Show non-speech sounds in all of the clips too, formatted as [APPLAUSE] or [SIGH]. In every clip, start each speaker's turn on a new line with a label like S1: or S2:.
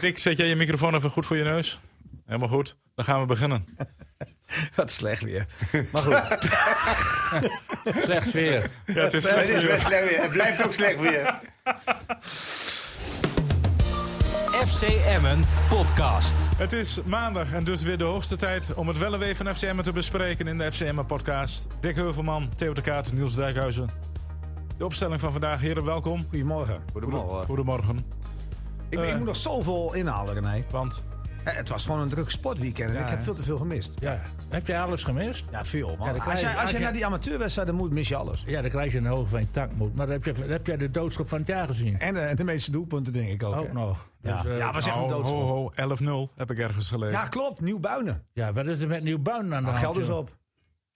S1: Dick, zet jij je microfoon even goed voor je neus? Helemaal goed. Dan gaan we beginnen.
S2: [LAUGHS] Wat slecht weer. Maar goed,
S3: Slecht weer.
S1: Ja, het is
S2: Het
S1: slecht
S2: is
S1: weer.
S4: Het is best slecht weer. Het blijft ook slecht weer.
S3: FC Emmen podcast.
S1: Het is maandag en dus weer de hoogste tijd om het wel en wee van FCM te bespreken in de FCM podcast. Dick Heuvelman, Theo de Kaat, Niels Dijkhuizen. De opstelling van vandaag, heren, welkom.
S2: goedemorgen.
S1: Goedemorgen. Goedemorgen.
S2: Ik, ik moet nog zoveel inhalen, René.
S1: Want
S2: Eh, Het was gewoon een druk sportweekend en ik heb
S3: hè?
S2: veel te veel gemist.
S3: Ja. Heb je alles gemist?
S2: Ja, veel. Man.
S3: Ja, dan
S2: als,
S3: krijg je-
S2: jij, als
S3: als
S2: jij
S3: je-
S2: naar die amateurwedstrijden moet, mis je alles.
S3: Ja, dan krijg je een hoog van je takmoed. Maar heb je, heb jij de doodschap van het jaar gezien?
S2: En eh, de meeste doelpunten, denk ik ook.
S3: Ook
S2: hè.
S3: nog.
S2: Ja,
S3: Dus, eh,
S2: ja was echt een
S1: ho,
S2: doodschop.
S1: nou, ho, ho, 11-0 heb ik ergens gelezen.
S2: oh. Ja, klopt. Nieuw buinen.
S3: ja, wat is er met Nieuwbouwen aan de hand?
S2: Geld is
S3: joh?
S2: op.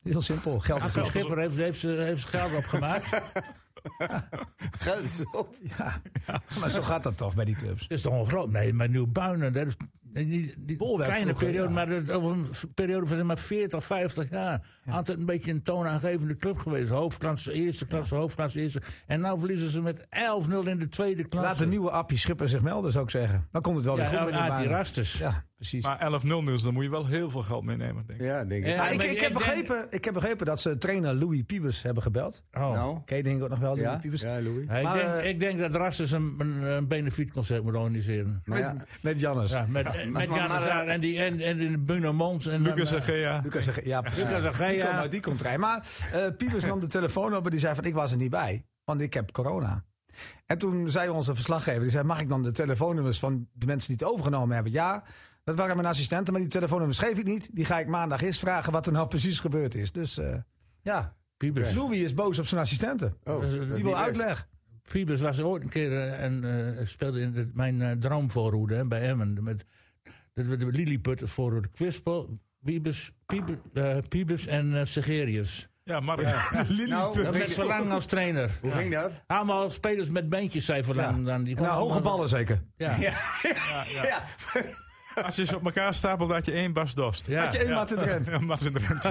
S2: Heel simpel. Geld is
S3: Axel
S2: op.
S3: Schipper heeft, heeft, heeft geld
S2: [LAUGHS]
S3: opgemaakt. Het
S4: Gaat het zo?
S2: Ja. Maar zo gaat dat toch bij die clubs.
S3: is toch ongelooflijk? Nee, maar Nieuwbouwen, dat is die, die
S2: Bol werd
S3: kleine
S2: vroeger,
S3: periode,
S2: ja.
S3: maar dat, over een v- periode van maar 40, 50 jaar. Altijd een beetje een toonaangevende club geweest. Hoofdklasse, eerste klasse, hoofdklasse, eerste. En nou verliezen ze met 11-0 in de tweede klasse.
S2: Laat de nieuwe Appie Schipper zich melden, zou ik zeggen. Dan komt het wel weer goed
S3: Ja,
S2: met die
S3: uit die
S2: Buinen.
S3: rasters.
S2: Ja, precies.
S1: Maar 11-0 Niels, dan moet je wel heel veel geld meenemen, denk ik.
S4: Ja, denk ik.
S3: Ja.
S2: Nou, ik,
S3: maar
S2: ik,
S3: ik
S2: heb
S3: denk-
S2: begrepen, ik heb begrepen dat ze trainer Louis Piebers hebben gebeld.
S3: Oh.
S4: Nou,
S2: Ken je denk ik ook nog wel, Louis
S4: ja,
S2: Piebers?
S4: ja, Louis.
S3: Ja, ik,
S2: Maar,
S3: denk,
S2: eh,
S3: ik denk dat Rassus een, een, een benefietconcert moet organiseren.
S4: Maar ja,
S2: Met, met Jannes.
S3: Ja, met eh, met
S4: maar-
S3: Janne
S4: maar-
S3: Zaar en, die, en, en, en Bruno Mons. En
S1: Lucas
S3: dan,
S1: en
S3: eh,
S1: Gea.
S2: eh, Lucas zegt, ja, precies.
S3: Lucas en Gea.
S2: Die komt uit die komt rijden. Maar eh Piebers nam de telefoon op en die zei van, ik was er niet bij, want ik heb corona. En toen zei onze verslaggever, die zei, mag ik dan de telefoonnummers van de mensen die het overgenomen hebben? Ja, dat waren mijn assistenten, maar die telefoonnummers geef ik niet. Die ga ik maandag eerst vragen wat er nou precies gebeurd is. Dus eh, ja, Dus
S3: Piebers.
S2: Louis is boos op zijn assistenten.
S4: Oh,
S3: Dus, eh,
S4: dat is
S2: Oh, Die
S4: niet
S2: wil
S4: best.
S2: uitleg.
S3: Piebers was ooit een keer eh, en eh, speelde in het- mijn eh, droomvoorhoede hè, bij Emmen. Met de, de, de Lilliput voorhoede. Kwispel, Piebers, Piebers, eh, Piebers en eh, Segerius.
S1: Ja, eh, Mark. [LAUGHS]
S4: Nou,
S3: Dat Met
S4: hoe-
S3: Verlang als trainer.
S4: hoe ging dat?
S3: Allemaal spelers met beentjes, zei
S2: Ja.
S3: Verlang. Dan, die
S2: Nou,
S3: kwamen
S2: hoge
S3: allemaal-
S2: ballen zeker.
S3: Ja. Ja.
S4: Ja.
S1: Als je ze op elkaar stapelt, had je één Bas Dost.
S2: Had je één
S1: Ja.
S2: mat in
S1: [LAUGHS]
S2: Drenthe.
S1: Ja, Martin Drent.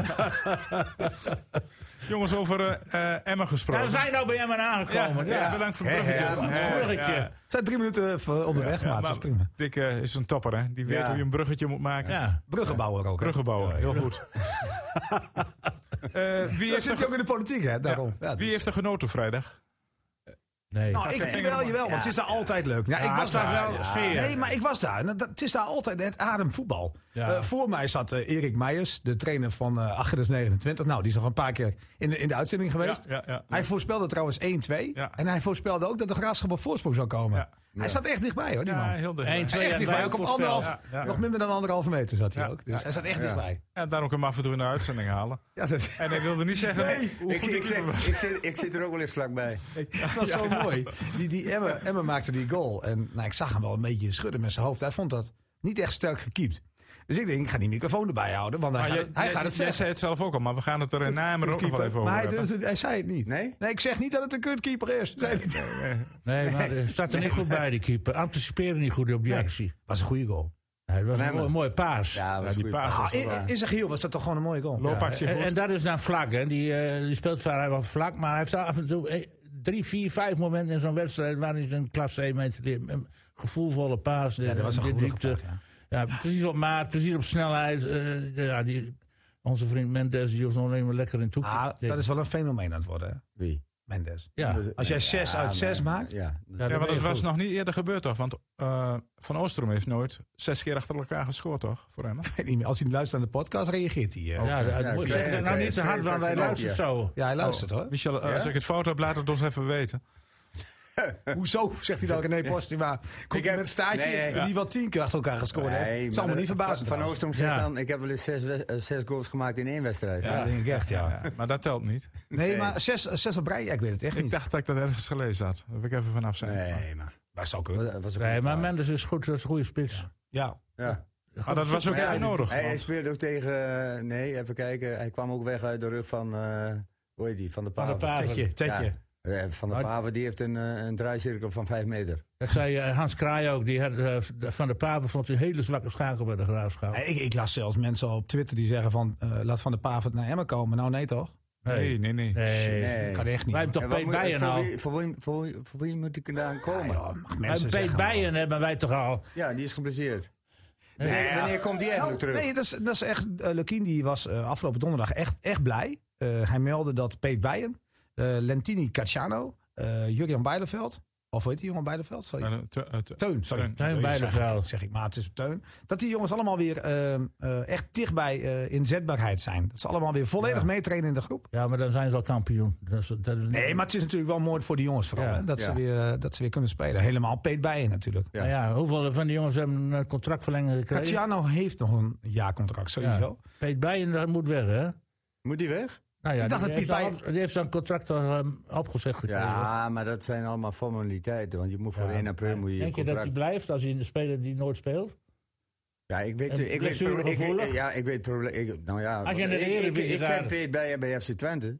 S1: Jongens, over eh, eh, Emma
S3: Ja,
S1: gesproken.
S3: we zijn nou bij Emmen aangekomen.
S1: ja, bedankt voor het bruggetje.
S4: ja,
S1: Ja,
S3: Goed bruggetje.
S1: ja.
S2: We zijn drie minuten eh, onderweg, maar dat is prima.
S1: Dick eh, is een topper, hè? Die weet
S4: Ja.
S1: hoe je een bruggetje moet maken.
S3: Ja.
S2: Bruggenbouwer ook. hè?
S1: Bruggen bouwen, heel goed. Eh, wie,
S2: Dat
S1: heeft er,
S2: zit je ook in de politiek, hè? Daarom.
S1: ge-
S2: Ja, dus-
S1: wie heeft er genoten vrijdag?
S3: Nee.
S2: Nou, ik vind wel, jawel, want het is daar altijd leuk. Ja, ik was daar
S3: wel sfeer.
S2: Nee, maar ik was daar. Nou, dat- Het is daar altijd het ademvoetbal.
S3: Ja.
S2: Eh, voor mij zat eh, Erik Meijers, de trainer van eh Achilles 29. Nou, die is nog een paar keer in de, in de uitzending geweest.
S1: Ja, ja, ja.
S2: Hij voorspelde trouwens 1-2.
S1: Ja.
S2: En hij voorspelde ook dat de graafschap op voorsprong zou komen.
S1: Ja.
S2: Hij zat echt dichtbij, hoor, die
S1: Ja,
S2: man.
S1: heel
S3: Eén,
S1: dichtbij.
S3: twee.
S2: Echt
S3: ja,
S2: dichtbij,
S3: wij
S2: ook op
S3: voorspelden.
S2: anderhalf,
S1: Ja, ja.
S2: nog minder dan anderhalve meter zat hij
S1: Ja.
S2: ook. Dus hij zat echt dichtbij.
S1: En daarom kan ik hem af en toe in de uitzending halen.
S2: Ja, dat,
S1: En ik wilde niet zeggen hoe
S4: Ik,
S1: goed
S4: ik,
S1: ik
S4: zit,
S1: hem
S4: ik, zit, ik zit er ook wel eens vlakbij.
S2: [LAUGHS] Het was zo mooi. Die, die Emma, Emma maakte die goal. En nou, ik zag hem wel een beetje schudden met zijn hoofd. Hij vond dat niet echt sterk gekiept. Dus ik denk, ik ga die microfoon erbij houden. Want hij,
S1: Maar
S2: gaat,
S1: jij-
S2: hij
S1: jij-
S2: gaat het
S1: jij
S2: zeggen.
S1: zei het zelf ook al, maar we gaan het er in Nijmegen ook nog wel even over
S2: maar hij,
S1: hebben.
S2: durfde- hij zei het niet.
S4: Nee?
S2: nee, ik zeg niet dat het een kutkeeper is. Zei hij.
S3: Nee, maar er staat er niet goed bij, die keeper. Anticipeerde niet goed op die
S2: Nee.
S3: actie.
S2: was een goede goal.
S3: Nee, het was
S4: Nee,
S3: een
S4: maar-
S3: mooi, mooie paas.
S4: Ja, was
S1: Ja, die
S4: goed.
S1: paas
S2: Ah,
S1: is
S2: in, in zijn geheel was dat toch gewoon een mooie goal.
S1: eh. loopactie
S3: en,
S1: goed.
S3: en dat is dan vlak, hè. Die, eh, die speelt vaak wel vlak, maar hij heeft af en toe eh, drie, vier, vijf momenten in zo'n wedstrijd... waar hij zo'n klasse 1 mensen leert. Een gevoelvolle paas. Ja,
S2: dat was een goede pak,
S3: ja. precies op maat, precies op snelheid. eh, ja, die, onze vriend Mendes, die hoeft nog alleen maar lekker in toe te
S2: Ah,
S3: tikken.
S2: dat is wel een fenomeen aan het worden, hè,
S4: Wie?
S2: Mendes.
S3: Ja, ja,
S2: Als jij zes
S4: Ja,
S2: uit zes
S4: maar-
S2: maakt.
S4: Ja.
S3: dat
S1: Ja,
S3: ben
S1: maar dat
S3: je
S1: was
S3: goed.
S1: nog niet eerder gebeurd, toch? Want eh, Van Oostrom heeft nooit zes keer achter elkaar gescoord, toch? Voor
S2: [LAUGHS]
S1: hem. hè?
S2: Ik weet niet meer. Als hij luistert aan de podcast, reageert hij. eh.
S3: Ja, dat-
S4: Ja,
S3: moet-
S4: ik
S3: zeg
S4: weet
S3: dat
S4: het,
S3: nou
S4: eh,
S3: niet te
S4: het
S3: hard,
S4: is-
S3: want
S4: het is
S3: hij
S4: een
S3: luistert
S4: lampje.
S3: zo.
S2: Ja, hij luistert hoor.
S1: Michel, eh, als ik het fout heb, laat het ons even weten.
S2: Hoezo, zegt hij dan René Postuma. Komt hij
S4: heb-
S2: met een staartje
S4: Nee, nee.
S2: die wel tien keer achter elkaar gescoord
S4: Nee,
S2: heeft.
S4: maar
S2: Het zal me
S4: dat-
S2: niet verbazen.
S4: Van
S2: trouwens.
S4: Oostrom zegt
S3: Ja.
S4: dan, ik heb wel eens zes, we- eh, zes goals gemaakt in één wedstrijd.
S2: Ja, dat denk ik echt, ja.
S1: Maar dat telt niet.
S2: Nee, maar zes, zes op rij, ja, ik weet het echt
S1: Ik
S2: niet.
S1: dacht dat ik dat ergens gelezen had. Daar wil ik even vanaf zijn.
S4: Nee, maar.
S2: dat zou kunnen.
S4: Dat was een
S3: Nee,
S4: goede
S3: maar
S4: paas.
S3: Mendes is goed, dat is een goede spits.
S2: Ja.
S4: Ja.
S1: Maar dat was ook
S4: Ja,
S1: even nodig.
S4: Hij, hij
S1: want-
S4: speelde ook tegen. eh, Nee, even kijken. Hij kwam ook weg uit de rug van. eh, hoe heet die? Van de
S3: Van de
S4: Paven.
S3: Paven.
S2: Tetje, tetje.
S4: Eh, Van de
S3: Maar-
S4: Paven die heeft een, eh, een draaicirkel van 5 meter.
S3: Dat zei eh, Hans Kraai ook. Die had, eh, van de Paven vond hij een hele zwakke schakel bij de graafschap.
S2: Nee, Ik, ik las zelfs mensen op Twitter die zeggen van, eh, laat Van de Paven naar Emmen komen. Nou, nee toch?
S1: Nee, nee, nee.
S3: Nee.
S4: Nee.
S2: Kan echt niet.
S3: Wij hebben toch
S4: En wat
S3: Peet
S4: moet-
S3: Bijen
S4: voor
S3: al.
S4: wie- Voor wie, voor, wie, voor wie moet ik daar komen?
S2: Ja,
S4: Ja,
S2: mag
S3: Wij
S2: mensen
S3: Peet
S2: zeggen,
S3: Bijen hebben wij toch al.
S4: die is geblesseerd. Wanneer, wanneer komt die
S2: Nou,
S4: eigenlijk terug?
S2: Nee, dat is, dat is echt. eh Lukien die was eh, afgelopen donderdag echt, echt blij. Eh, hij meldde dat Peet Bijen, eh, Lentini Cacciano, eh Jurjan Bijleveld. Of hoe heet die jongen Bijleveld? Sorry.
S1: Eh, te- eh, te-
S2: Teun, sorry.
S1: Teun.
S3: Zijn
S1: Nee,
S3: wij
S1: zeg-
S3: nog wel.
S2: Zeg ik, maar het is Teun. Dat die jongens allemaal weer ehm, eh, echt dichtbij eh, inzetbaarheid zijn. Dat ze allemaal weer volledig
S3: Ja.
S2: meetrainen in de groep.
S3: Ja, maar dan zijn ze al kampioen. Dat is, dat is
S2: Nee, maar het is natuurlijk wel mooi voor die jongens vooral.
S3: Ja.
S2: hè, dat, ze
S4: Ja.
S2: weer, eh, dat ze weer kunnen spelen. Helemaal Peet Bijen natuurlijk.
S4: Ja.
S3: Maar Nou ja, hoeveel van die jongens hebben een contractverlenging gekregen?
S2: Cacciano heeft nog een jaarcontract sowieso.
S3: Ja. Peet Bijen dat moet weg, hè?
S4: Moet die weg?
S3: Nou ja,
S2: Ik dacht
S3: die,
S2: dat
S3: heeft
S2: Piet
S3: al- die heeft zijn contract al ehm, opgezegd gekregen.
S4: Ja, maar dat zijn allemaal formaliteiten. Want je moet voor
S3: Ja,
S4: 1 april
S3: maar
S4: moet je je
S3: Denk je dat hij
S4: contract...
S3: blijft als hij een speler die nooit speelt?
S4: Ja, ik weet...
S3: en
S4: Ik weet, ik,
S3: blessuregevoelig?
S4: ik- ja, ik weet probleem... ik- Nou ja,
S3: Als je in de
S4: ik, ik, ik,
S3: Eredivisie
S4: ik ken
S3: daar-
S4: Peet bij, bij FC Twente.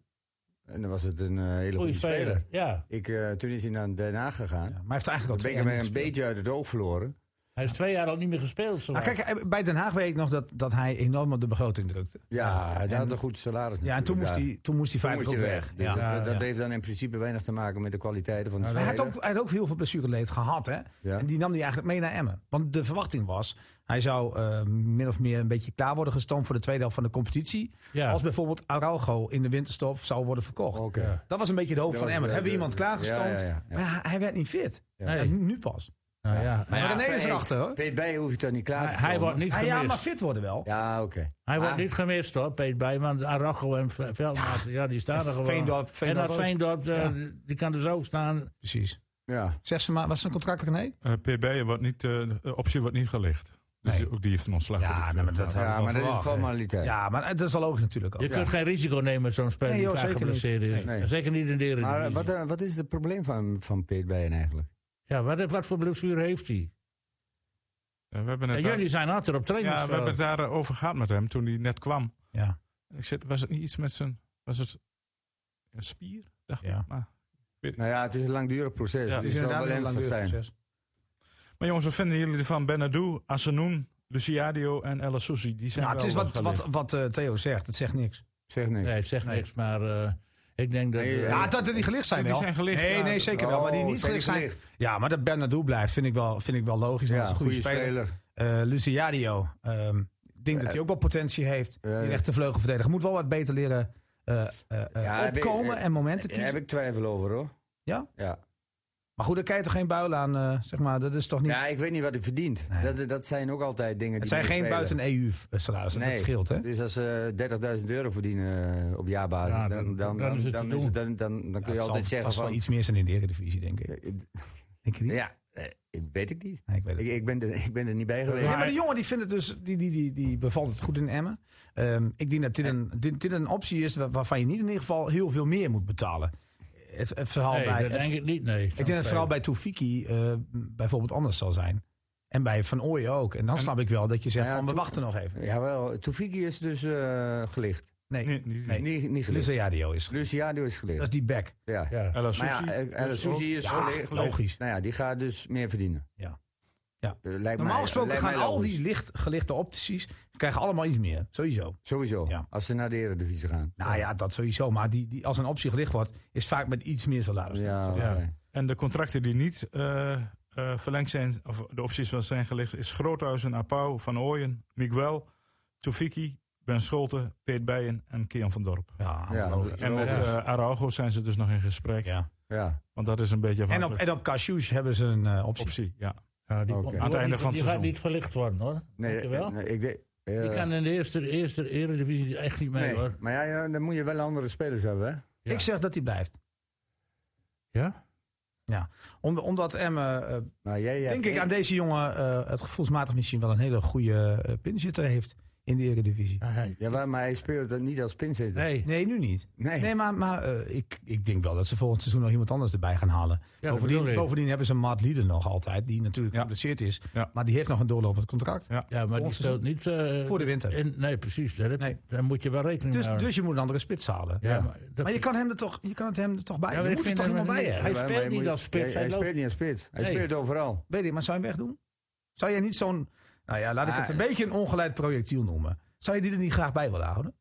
S4: En dan was het een eh, hele goede
S3: Goeie
S4: speler.
S3: speler. Ja,
S4: Ik, eh, toen is hij naar Den Haag gegaan.
S2: Ja, maar hij heeft eigenlijk al
S4: Toen ben
S2: twee
S4: ik hem
S2: jaar niet
S4: een
S2: gespeeld.
S4: beetje uit het oog verloren.
S3: hij heeft twee jaar al niet meer gespeeld. zo
S2: Nou,
S3: waar.
S2: kijk, hij- bij Den Haag weet ik nog dat, dat hij enorm op de begroting drukte.
S4: Ja, hij
S2: en-
S4: had een goed salaris
S2: Ja, en toen moest hij, toen moest hij veilig op weg.
S4: Dus
S2: Ja.
S4: dat-
S3: Ja,
S4: dat, dat
S3: ja.
S4: heeft dan in principe weinig te maken met de kwaliteiten van de
S2: Maar Hij,
S4: speler.
S2: had ook, hij had ook heel veel blessureleed gehad. Hè?
S4: Ja.
S2: En die nam hij eigenlijk mee naar Emmen. Want de verwachting was, hij zou eh, min of meer een beetje klaar worden gestoomd voor de tweede helft van de competitie.
S3: Ja.
S2: Als bijvoorbeeld Araujo in de winterstop zou worden verkocht.
S4: Oké.
S3: Ja.
S2: Dat was een beetje de hoop
S4: Dat
S2: van
S4: was,
S2: Emmen.
S4: eh,
S2: Hebben we
S4: de-
S2: iemand
S4: de-
S2: klaargestoomd?
S4: ja, ja, ja, ja.
S2: Maar hij, hij werd niet fit.
S3: Nee.
S2: En nu pas.
S3: Nou ja.
S2: Maar René is
S4: Peet-
S2: erachter, hoor.
S4: Peet bij hoef je toch niet klaar
S3: Hij,
S4: te
S3: hij
S4: stomen?
S3: wordt niet
S2: Ah,
S3: gemist.
S2: ja, maar fit worden wel.
S4: Ja, oké.
S3: Hij wordt
S4: Ah.
S3: niet gemist hoor, Peet Bijman. Aracho en Ve- Veldmaat, ja. die staan er
S2: En
S3: gewoon.
S2: Veendorp-
S3: en
S2: Veendorp
S3: dat
S2: ook.
S3: Veendorp, eh,
S2: Ja.
S3: die- die kan dus ook staan.
S2: Precies.
S4: Ja.
S2: Zeg ze maar, was zijn contract René?
S1: eh, PB wordt niet, eh, de optie wordt niet gelicht. Dus
S2: Nee.
S1: ook die heeft een ontslag.
S2: Ja, nee, maar dat had ik
S4: ja,
S2: wel
S4: maar dat is
S2: verwacht.
S4: formaliteit.
S2: Ja, maar eh, dat is al ook natuurlijk ook.
S3: Je kunt geen risico nemen met zo'n speler
S2: Nee,
S3: die
S2: joh,
S3: vaak
S2: zeker niet.
S3: geblesseerd is.
S4: Nee.
S3: En Zeker niet in de
S4: Maar eh,
S3: Eredivisie.
S4: wat, eh, wat is het probleem van, van Peet Bijen eigenlijk?
S3: ja, wat, wat voor blessure heeft hij?
S1: Eh, we hebben
S3: En
S1: het daar,
S3: jullie zijn altijd op
S1: ja, we
S3: trainingsveld.
S1: hebben het daarover gehad met hem toen hij net kwam.
S2: Ja.
S1: Ik zei, was het niet iets met zijn... Was het een spier? Dacht
S2: Ja.
S1: ik. Maar,
S4: Nou ja, het is een langdurig proces.
S1: Ja,
S4: dus het zal wel ernstig zijn.
S1: maar jongens, wat vinden jullie ervan? Benadou, Assenoen, Luciadio en El Sousi. Die zijn
S2: Nou, het
S1: wel
S2: is wat,
S1: gelicht.
S2: wat, wat eh, Theo zegt. Het zegt niks.
S4: Zeg niks.
S3: Nee, zeg
S2: Nee.
S3: niks, maar eh, ik denk dat...
S4: Nee,
S3: eh,
S2: Ja, dat die gelicht zijn
S1: Die
S2: wel.
S1: zijn gelicht,
S2: Nee,
S1: ja.
S2: nee, zeker wel. Maar die
S4: Oh,
S2: niet
S4: zijn
S2: gelicht
S4: die
S2: zijn.
S4: gelicht?
S2: Ja, maar dat Bernardo blijft vind ik wel, vind ik wel logisch. want
S4: Ja,
S2: dat is een goede speler. Eh, Luciadio. ehm, ik denk dat hij ook wel potentie heeft.
S4: eh,
S2: die rechte vleugelverdediger. Moet wel wat beter leren eh, eh, eh,
S4: Ja, heb ik-
S2: opkomen
S4: eh,
S2: en momenten
S4: Daar
S2: kiezen.
S4: heb ik twijfel over hoor.
S2: Ja?
S4: Ja,
S2: Maar goed, daar kan je toch geen buil aan, eh, zeg maar. Dat is toch niet...
S4: ja ik weet niet wat hij verdient.
S2: Nee.
S4: Dat, dat zijn ook altijd dingen
S2: het
S4: die
S2: zijn geen
S4: meespelen.
S2: buiten-EU-salarissen. Dat scheelt, hè?
S4: Dus als ze 30.000 euro verdienen eh, op jaarbasis,
S3: Ja,
S4: dan,
S3: dan-
S4: dan,
S3: dan is het te
S4: dan, is
S3: doen.
S4: het- dan, dan, dan kun
S2: Ja,
S4: je
S2: het
S4: altijd
S2: zal
S4: zeggen
S2: vast
S4: van...
S2: wel iets meer zijn in de Eredivisie, denk ik. Denk je niet?
S4: Ja, eh, weet ik niet.
S2: Nee, ik weet het
S4: Ik, ik, ben er, [LAUGHS] ik ben er niet bij geweest.
S2: Ja, maar die jongen die vindt het dus, die, die, die, die bevalt het goed in Emmen. Ehm, ik denk dat dit een, dit, dit een optie is wa- waarvan je niet in ieder geval heel veel meer moet betalen. Het, het verhaal
S3: nee,
S2: bij,
S3: dat
S2: het-
S3: denk ik niet, nee.
S2: ik denk dat het verhaal bij Toefiki eh, bijvoorbeeld anders zal zijn. En bij Van Ooyen ook. En dan snap ik wel dat je zegt
S4: Ja,
S2: van we
S4: Toe-
S2: wachten nog even.
S4: Jawel, Tofiki is dus eh, gelicht.
S2: Nee,
S1: Nee, niet-
S2: Nee.
S4: Niet, niet gelicht.
S2: Luciadio is
S4: Luciano is
S2: Dat
S4: gelicht.
S2: is die back.
S4: Ja.
S3: Ja.
S1: El
S4: Maar
S1: Sousi.
S4: ja, eh, eh, Susi is
S2: Ja,
S4: gelicht.
S2: logisch.
S4: Nou ja, die gaat dus meer verdienen.
S2: Ja. Ja.
S4: Eh, lijkt
S2: Normaal
S4: mij-
S2: gesproken
S4: lijkt
S2: gaan
S4: mij
S2: al
S4: logisch.
S2: die licht, gelichte opties krijgen allemaal iets meer. Sowieso.
S4: Sowieso,
S2: Ja.
S4: als ze naar de Eredivisie gaan.
S2: Nou ja, dat sowieso. Maar die, die, als een optie gelicht wordt, is vaak met iets meer salaris.
S4: Ja, oké.
S3: Ja.
S1: En de contracten die niet eh, eh, verlengd zijn, of de opties wel zijn gelicht, is Groothuizen, Apau, Van Ooyen, Miguel, Tofiki, Ben Scholte, Peet Bijen en Kian van Dorp.
S2: Ja,
S4: Ja,
S2: logisch.
S4: dat-
S1: En met eh Araujo zijn ze dus nog in gesprek.
S2: Ja.
S4: ja.
S1: Want dat is een beetje
S2: En
S1: van
S2: op, en op Cassius hebben ze een eh, optie.
S1: optie. Ja.
S3: Ja, die
S4: Oké.
S3: komt-
S4: Aan
S1: het
S3: die
S1: einde
S3: gaat-
S1: van het
S3: Die gaat
S1: seizoen.
S3: niet verlicht worden, hoor. Denk je
S4: Nee,
S3: wel?
S4: eh, nee, ik denk... eh,
S3: Die kan in de eerste, eerste Eredivisie echt niet mee,
S4: nee.
S3: hoor.
S4: Maar ja, ja, dan moet je wel andere spelers hebben, hè?
S3: Ja.
S2: Ik zeg dat hij blijft.
S3: Ja?
S2: Om, omdat Emme, eh,
S4: Maar jij, jij
S2: denk ik, aan deze jongen eh, het gevoelsmatig misschien wel een hele goede eh, pinzitter heeft in de Eredivisie.
S3: Ja, hij-
S4: Ja, maar- maar hij speelt dat niet als pinzitter.
S3: Nee.
S2: Nee, nu niet.
S4: Nee.
S2: Nee, maar, maar eh, ik, ik denk wel dat ze volgend seizoen nog iemand anders erbij gaan halen.
S3: dat bedoel
S2: bovendien,
S3: ik.
S2: bovendien hebben ze Maat Lieden nog altijd, die natuurlijk
S1: Ja.
S2: geblesseerd is.
S1: Ja.
S2: Maar die heeft nog een doorlopend contract
S3: Ja, maar die
S2: Ons
S3: speelt niet... eh,
S2: voor de winter.
S3: in- nee, precies. Daar, heb-
S2: Nee.
S3: daar moet je wel rekening mee
S2: Dus,
S3: houden.
S2: dus je moet een andere spits halen.
S3: ja, maar, dat-
S2: Maar je kan hem er toch, je kan het hem er toch bij.
S3: Ja, maar
S2: je
S3: ik
S2: moet er
S3: vind
S2: toch
S3: hem
S2: iemand bij
S3: niet-
S2: hebben.
S3: Hij
S4: Ja, maar-
S3: speelt
S4: maar je
S3: niet
S4: moet-
S3: als spits,
S4: Hij,
S3: hij
S4: hij
S3: loopt-
S4: speelt niet als spits. Hij
S3: Nee.
S4: speelt overal.
S2: Weet ik, maar zou je hem wegdoen? Zou jij niet zo'n, nou ja, laat ik
S4: Ah.
S2: het een beetje een ongeleid projectiel noemen. Zou je die er niet graag bij willen houden?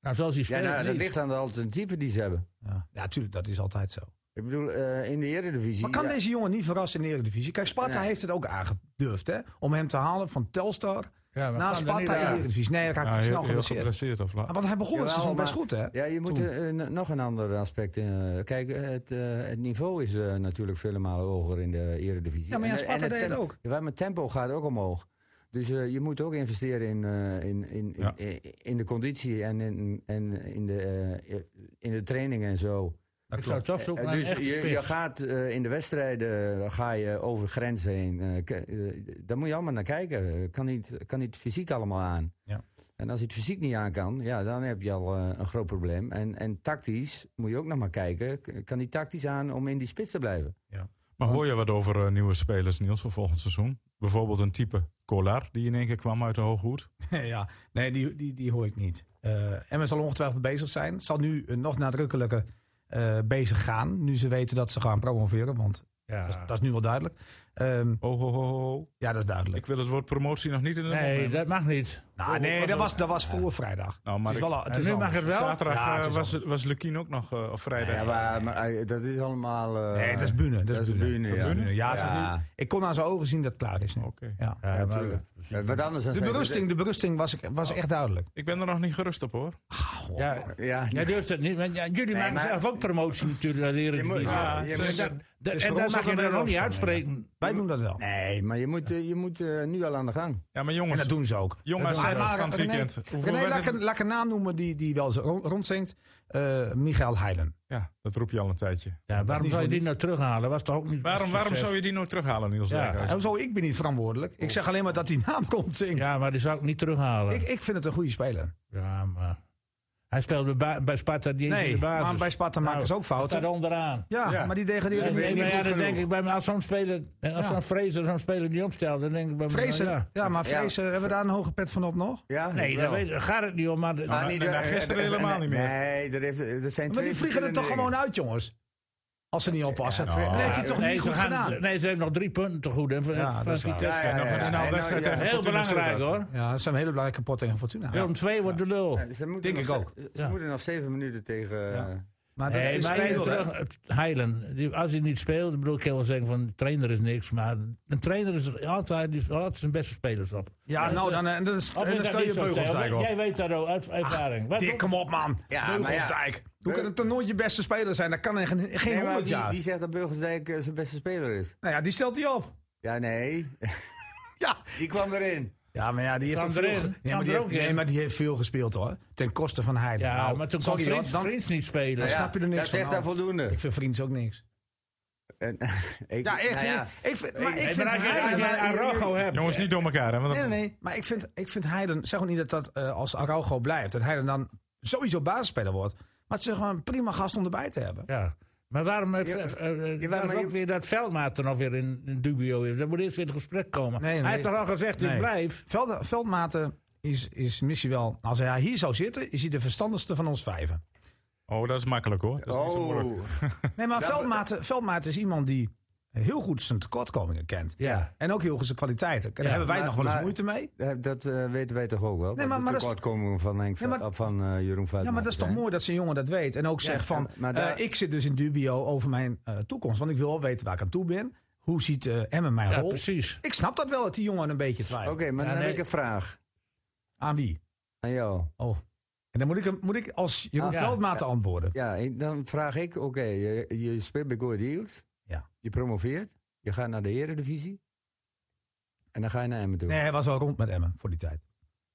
S3: Nou, zoals hij
S4: Ja,
S3: speelt.
S4: nou, dat
S3: niet.
S4: ligt aan de alternatieven die ze hebben.
S2: Ja, ja tuurlijk, dat is altijd zo.
S4: Ik bedoel, eh, in de Eredivisie...
S2: Maar kan
S4: ja,
S2: deze jongen niet verrassen in de Eredivisie? Kijk, Sparta
S4: Nee.
S2: heeft het ook aangedurfd, hè? Om hem te halen van Telstar
S3: Ja, maar
S2: naar
S3: gaan we niet-
S2: Sparta in de Eredivisie. Nee, hij raakte
S1: Ja,
S2: snel
S1: heel- heel
S2: geblesseerd.
S1: geblesseerd of laat.
S2: Want hij begon het
S4: Jawel,
S2: seizoen best
S4: maar-
S2: goed, hè?
S4: Ja, je moet eh, eh, nog een ander aspect in. eh, Kijk, het, eh, het niveau is eh, natuurlijk vele malen hoger in de Eredivisie.
S2: Ja, maar ja,
S4: En, eh, en
S2: Sparta
S4: het
S2: deed het
S4: tempo-
S2: ook.
S4: Ja, maar het tempo gaat ook omhoog. Dus eh, je moet ook investeren in, eh, in, in,
S1: Ja.
S4: in, in de conditie en in, en in, de, eh, in de training en zo.
S3: Ik zou het toch zoeken
S4: Eh,
S3: naar
S4: dus
S3: een echte
S4: je, je
S3: spits.
S4: gaat eh, in de wedstrijden eh, ga je over grenzen heen. Eh, k- eh, daar moet je allemaal naar kijken. Eh, Kan niet, kan niet fysiek allemaal aan.
S2: Ja.
S4: En als hij het fysiek niet aan kan, ja, dan heb je al eh, een groot probleem. En, en tactisch moet je ook nog maar kijken. K- Kan hij tactisch aan om in die spits te blijven?
S1: Maar hoor je wat over eh, nieuwe spelers, Niels, voor volgend seizoen? Bijvoorbeeld een type Collar, die in één keer kwam uit de Hooghoed.
S2: [LAUGHS] ja, nee, die, die, die hoor ik niet. Eh Emmen zal ongetwijfeld bezig zijn. Zal nu eh, nog nadrukkelijker eh, bezig gaan. Nu ze weten dat ze gaan promoveren. Want
S3: Ja.
S2: dat, is, dat is nu wel duidelijk. Ehm,
S1: Oh, ho, ho, ho.
S2: ja, dat is duidelijk.
S1: Ik wil het woord promotie nog niet in de mond
S3: Nee,
S1: nemen.
S3: dat mag niet.
S2: nou,
S1: oh,
S2: nee,
S1: was
S2: dat
S1: ook-
S2: was, dat was voor vrijdag.
S1: Nou, maar
S2: het is
S1: ik-
S2: wel, al- het
S3: en
S2: is
S3: nu mag
S2: anders.
S3: het wel.
S1: Zaterdag
S2: Ja,
S1: eh,
S2: het is
S1: was, was Lukien ook nog, eh, of vrijdag.
S4: Ja, maar, maar, eh, dat is allemaal. eh,
S2: Nee, dat is Bune. Dat is Bune. Dat is
S4: ja.
S2: Bune. Ja, het is
S4: Ja.
S2: nu- ik kon aan zijn ogen zien dat het klaar is nu.
S1: Oké.
S2: Ja.
S3: Ja, maar-
S4: tuurlijk. Eh, Wat anders dan
S2: De
S4: zijn ze-
S2: berusting, de berusting was, was echt duidelijk.
S1: Ik ben er nog niet gerust op, hoor.
S3: ja,
S4: Ja,
S3: jij durft het niet. want ja, jullie maken
S4: maar-
S3: zelf ook promotie natuurlijk naar de Eredivisie.
S4: moet- ja, je
S3: Dus
S4: moet-
S3: dat-
S2: dus
S3: dat- en
S2: voor
S3: dat
S2: ons
S3: mag
S2: ook een
S3: je dan nog niet
S2: overstap,
S3: uitspreken.
S2: Wij doen dat wel.
S4: Nee, maar je moet, eh, je moet eh, nu al aan de gang.
S1: Ja, maar
S2: En
S1: jongens,
S2: dat doen ze ook.
S1: Jong
S2: Dat doen
S1: AZ
S2: ze ook.
S1: van het
S2: René-
S1: weekend.
S2: René,
S1: Hoeveel werd
S2: laat,
S1: het?
S2: ik een- laat ik een naam noemen die, die wel zo rond- rondzingt. Eh, Michael Heilen.
S1: ja, dat roep je al een tijdje.
S3: Ja, waarom
S2: niet
S3: zou
S2: voor
S3: je die nou terughalen? Was toch ook niet
S1: Waarom, waarom
S3: succes?
S1: zou je die nou terughalen, Niels?
S3: Ja.
S1: Dijkhuizen?
S2: Hoezo, ik ben niet verantwoordelijk. Ik zeg alleen maar dat die naam rondzingt.
S3: Ja, maar die zou ik niet terughalen.
S2: Ik, ik vind het een goede speler.
S3: Ja, maar... Hij speelde bij, bij Sparta die in
S2: Nee,
S3: de basis. Nou,
S2: maar bij Sparta maken ze ook fouten.
S3: staat onderaan.
S2: Ja,
S4: Ja.
S2: maar die degradeerde
S3: Ja,
S2: weer
S3: nee,
S2: niet
S3: maar ja,
S2: goed
S3: dan
S2: genoeg.
S3: denk ik bij me, als zo'n speler, en als
S2: Ja.
S3: zo'n Fraser zo'n speler die omstelt, dan denk ik bij me,
S2: Vrezen,
S3: nou,
S2: ja.
S3: ja.
S2: maar
S4: Ja.
S2: Vrezen, hebben we daar een hoge pet van op nog?
S4: Ja,
S3: Nee,
S4: wel.
S3: daar weet, daar gaat het niet om, maar... de-
S4: Maar
S1: Nou,
S4: niet,
S1: nou, nou,
S4: eh,
S1: gisteren
S4: eh, eh,
S1: helemaal niet meer.
S4: Nee, er, heeft, er zijn
S2: Maar
S4: twee
S2: die vliegen er toch gewoon uit, jongens? Als ze niet oppassen.
S4: Ja, nou,
S2: dat heeft hij toch
S3: nee,
S2: niet
S3: ze
S2: goed
S3: gaan-
S2: gedaan?
S3: Nee, ze hebben nog drie punten te goed. En van,
S2: Ja,
S3: van
S2: dat is waar.
S3: Vitesse.
S4: Ja, ja,
S1: En nog
S4: ja,
S1: een
S4: ja.
S1: nou
S4: En
S1: wedstrijd
S4: nou, ja.
S1: tegen
S3: Heel
S1: Fortuna
S3: belangrijk
S1: Sittard.
S3: hoor.
S2: Ja, dat zijn hele belangrijke pot tegen Fortuna.
S3: Willem II wordt de lul.
S4: Ja, Ze moeten
S2: Denk
S4: nog
S2: ik
S4: ze- Ze,
S3: Ja.
S4: moeten nog zeven minuten tegen. eh,
S2: Maar dat
S3: Nee,
S2: is
S3: maar
S2: één
S3: even
S2: nul, hè?
S3: terug, het Heilen, die- als hij niet speelt, bedoel ik heel wel zeggen van de trainer is niks, maar een trainer is altijd, die haalt zijn beste spelers op.
S2: Ja,
S3: Dus,
S2: nou,
S3: eh,
S2: dan, eh, en dan, is- en
S3: of is
S2: dan
S3: dat
S2: stel je
S3: niet zo, Theo?
S2: Beugelsdijk op.
S3: Jij weet dat ook uit ervaring. Wat-
S2: Dik, kom op, man.
S4: Ja, maar ja.
S2: Beugelsdijk. Hoe kan het dan nooit je beste speler zijn? Dat kan in geen, geen
S4: Nee, maar
S2: 100
S4: wie,
S2: jaar.
S4: wie zegt dat Burgersdijk eh, zijn beste speler is?
S2: nou ja, die stelt hij op.
S4: Ja, nee.
S2: Ja.
S4: Die kwam erin.
S2: Ja, maar ja, die heeft
S3: Kan
S2: ook veel,
S3: erin.
S2: ge- nee,
S3: Kan
S2: maar die
S3: er
S2: heeft,
S3: ook in.
S2: nee, maar die heeft veel gespeeld hoor. Ten koste van Heiden.
S3: ja,
S2: Nou,
S3: maar toen kon
S2: sorry, hoor,
S3: Frits,
S2: dan-
S3: Frits niet spelen.
S2: Ja. [LAUGHS] snap je er niks
S4: dat
S2: van
S4: zegt
S2: af.
S4: daar voldoende.
S2: Ik vind Vriends ook niks.
S4: En- [LAUGHS] ik-
S2: Ja, echt.
S4: nou ja.
S2: Ik vind, maar ik
S3: Hey,
S2: vind
S3: maar als je, als
S2: Heiden-
S3: je Araujo hebt,
S1: Jongens, niet door elkaar. Hè, want
S2: Nee,
S1: dat-
S2: nee, nee. Maar ik vind, ik vind Heiden, zeg ook niet dat dat eh, als Araujo blijft, dat Heiden dan sowieso basisspeler wordt. Maar het is gewoon een prima gast om erbij te hebben.
S3: Ja. Maar waarom heeft
S4: Ja,
S3: eh, eh,
S4: ja,
S3: was
S4: maar je-
S3: ook weer dat Veldmaat er nog weer in, in dubio is? Dat moet eerst weer in gesprek komen.
S2: Nee, nee.
S3: Hij heeft toch al gezegd,
S2: Nee.
S3: ik blijf.
S2: Veld, Veldmaten is, is misschien wel, als hij hier zou zitten, is hij de verstandigste van ons vijven.
S1: Oh, dat is makkelijk hoor. Dat is niet zo moeilijk.
S4: Oh,
S2: Nee, maar Veldmaten, Veldmaten is iemand die heel goed zijn tekortkomingen kent.
S3: Ja.
S2: En ook heel goed zijn kwaliteiten. Daar hebben wij
S4: maar-
S2: nog wel eens
S4: maar-
S2: moeite mee.
S4: eh, dat eh, weten wij toch ook wel?
S2: maar-
S4: de
S2: maar dat is-
S4: tekortkomingen van, Henk,
S2: Ja, maar-
S4: Veld- van eh, Jeroen Vuijt.
S2: Ja, maar dat is toch mooi dat zijn jongen dat weet. En ook zegt van,
S4: ja, maar daar-
S2: eh, ik zit dus in dubio over mijn eh, toekomst. Want ik wil wel weten waar ik aan toe ben. Hoe ziet eh Emmen mijn
S3: Ja,
S2: rol?
S3: precies.
S2: Ik snap dat wel dat die jongen een beetje
S4: Oké,
S2: twijfelt.
S4: maar
S3: Ja,
S4: dan
S3: nee.
S4: heb ik een vraag
S2: Aan wie?
S4: aan jou.
S2: Oh. En dan moet ik, hem- moet ik als Jeroen
S3: Ja.
S2: Veldmaat antwoorden.
S4: Ja, en dan vraag ik, oké, je, je speelt bij Go Ahead Eagles.
S2: Ja.
S4: Je promoveert. Je gaat naar de Eredivisie. En dan ga je naar Emmen toe.
S2: Nee, hij was al rond met Emmen voor die tijd.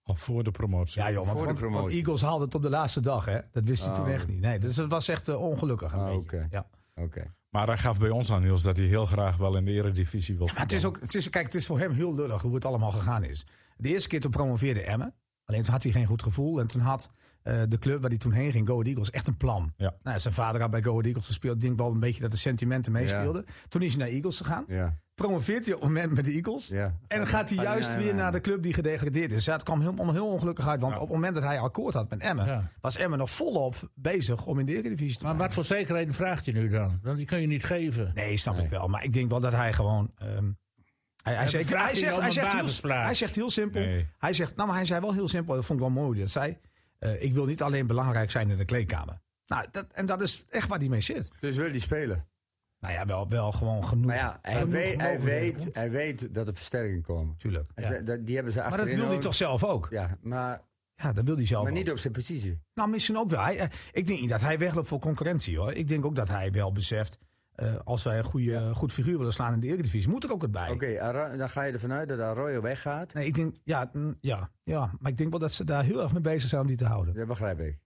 S1: Al voor de promotie.
S2: Ja, joh,
S4: Voor
S2: want,
S4: de
S2: want- want
S4: promotie.
S2: Eagles haalde het op de laatste dag, hè? Dat wist hij
S4: Oh.
S2: toen echt niet. Nee, dus dat was echt eh, ongelukkig. Een
S4: Ah,
S2: beetje.
S4: oké.
S2: Ja.
S4: Oké.
S1: Maar hij gaf bij ons aan, Niels, dat hij heel graag wel in de eredivisie wil.
S2: Maar het is ook, het is, kijk, het is voor hem heel lullig hoe het allemaal gegaan is. De eerste keer toen promoveerde Emmen. Alleen toen had hij geen goed gevoel. En toen had eh, de club waar hij toen heen ging, Go Ahead Eagles, echt een plan.
S1: Ja.
S2: Nou, zijn vader had bij Go Ahead Eagles gespeeld. Ik denk wel een beetje dat de sentimenten meespeelden. Toen is hij naar Eagles gegaan.
S4: Ja.
S2: Promoveert hij op het moment met de Eagles.
S4: ja.
S2: En dan gaat hij
S4: Ah,
S2: juist
S4: nee, nee,
S2: weer
S4: nee.
S2: naar de club die gedegradeerd is. Ja, het kwam helemaal heel ongelukkig uit. Want op het moment dat hij akkoord had met Emmen,
S3: Ja.
S2: was Emmen nog volop bezig om in de Eredivisie te
S3: Maar wat voor zekerheden vraagt je nu dan? Want die kun je niet geven.
S2: Nee, snap ik wel. Maar ik denk wel dat hij gewoon. ehm, hij, hij, zegt,
S3: vraagt
S2: hij,
S3: hij
S2: zegt,
S3: om
S2: hij,
S3: een
S2: zegt heel,
S3: basisplaats.
S2: hij zegt heel simpel.
S1: Nee.
S2: Hij zegt, nou, maar hij zei wel heel simpel. Dat vond ik wel mooi. Dat zei. eh, eh, ik wil niet alleen belangrijk zijn in de kleedkamer. Nou, dat, en dat is echt waar die mee zit.
S4: Dus wil die spelen.
S2: Nou ja, wel, wel gewoon genoeg.
S4: Maar ja, hij,
S2: Genoeg
S4: weet, hij,
S2: mogelijkheden,
S4: weet, hij weet dat er versterkingen komen.
S2: Tuurlijk.
S4: En ze- dat- Die hebben ze
S2: Maar dat
S4: achterin
S2: wil hij
S4: ook.
S2: toch zelf ook?
S4: Ja, maar,
S2: Ja, dat wil hij zelf
S4: maar
S2: ook.
S4: niet op zijn positie.
S2: Nou, misschien ook wel. Hij, eh, ik denk niet dat hij wegloopt voor concurrentie hoor. Ik denk ook dat hij wel beseft. eh, als wij een goede, goed figuur willen slaan in de Eredivisie, moet er ook het bij.
S4: Oké, Ara- dan ga je ervan uit dat Arroyo weggaat.
S2: Nee, ik denk, ja, mm, ja, ja, maar ik denk wel dat ze daar heel erg mee bezig zijn om die te houden.
S4: Dat begrijp ik.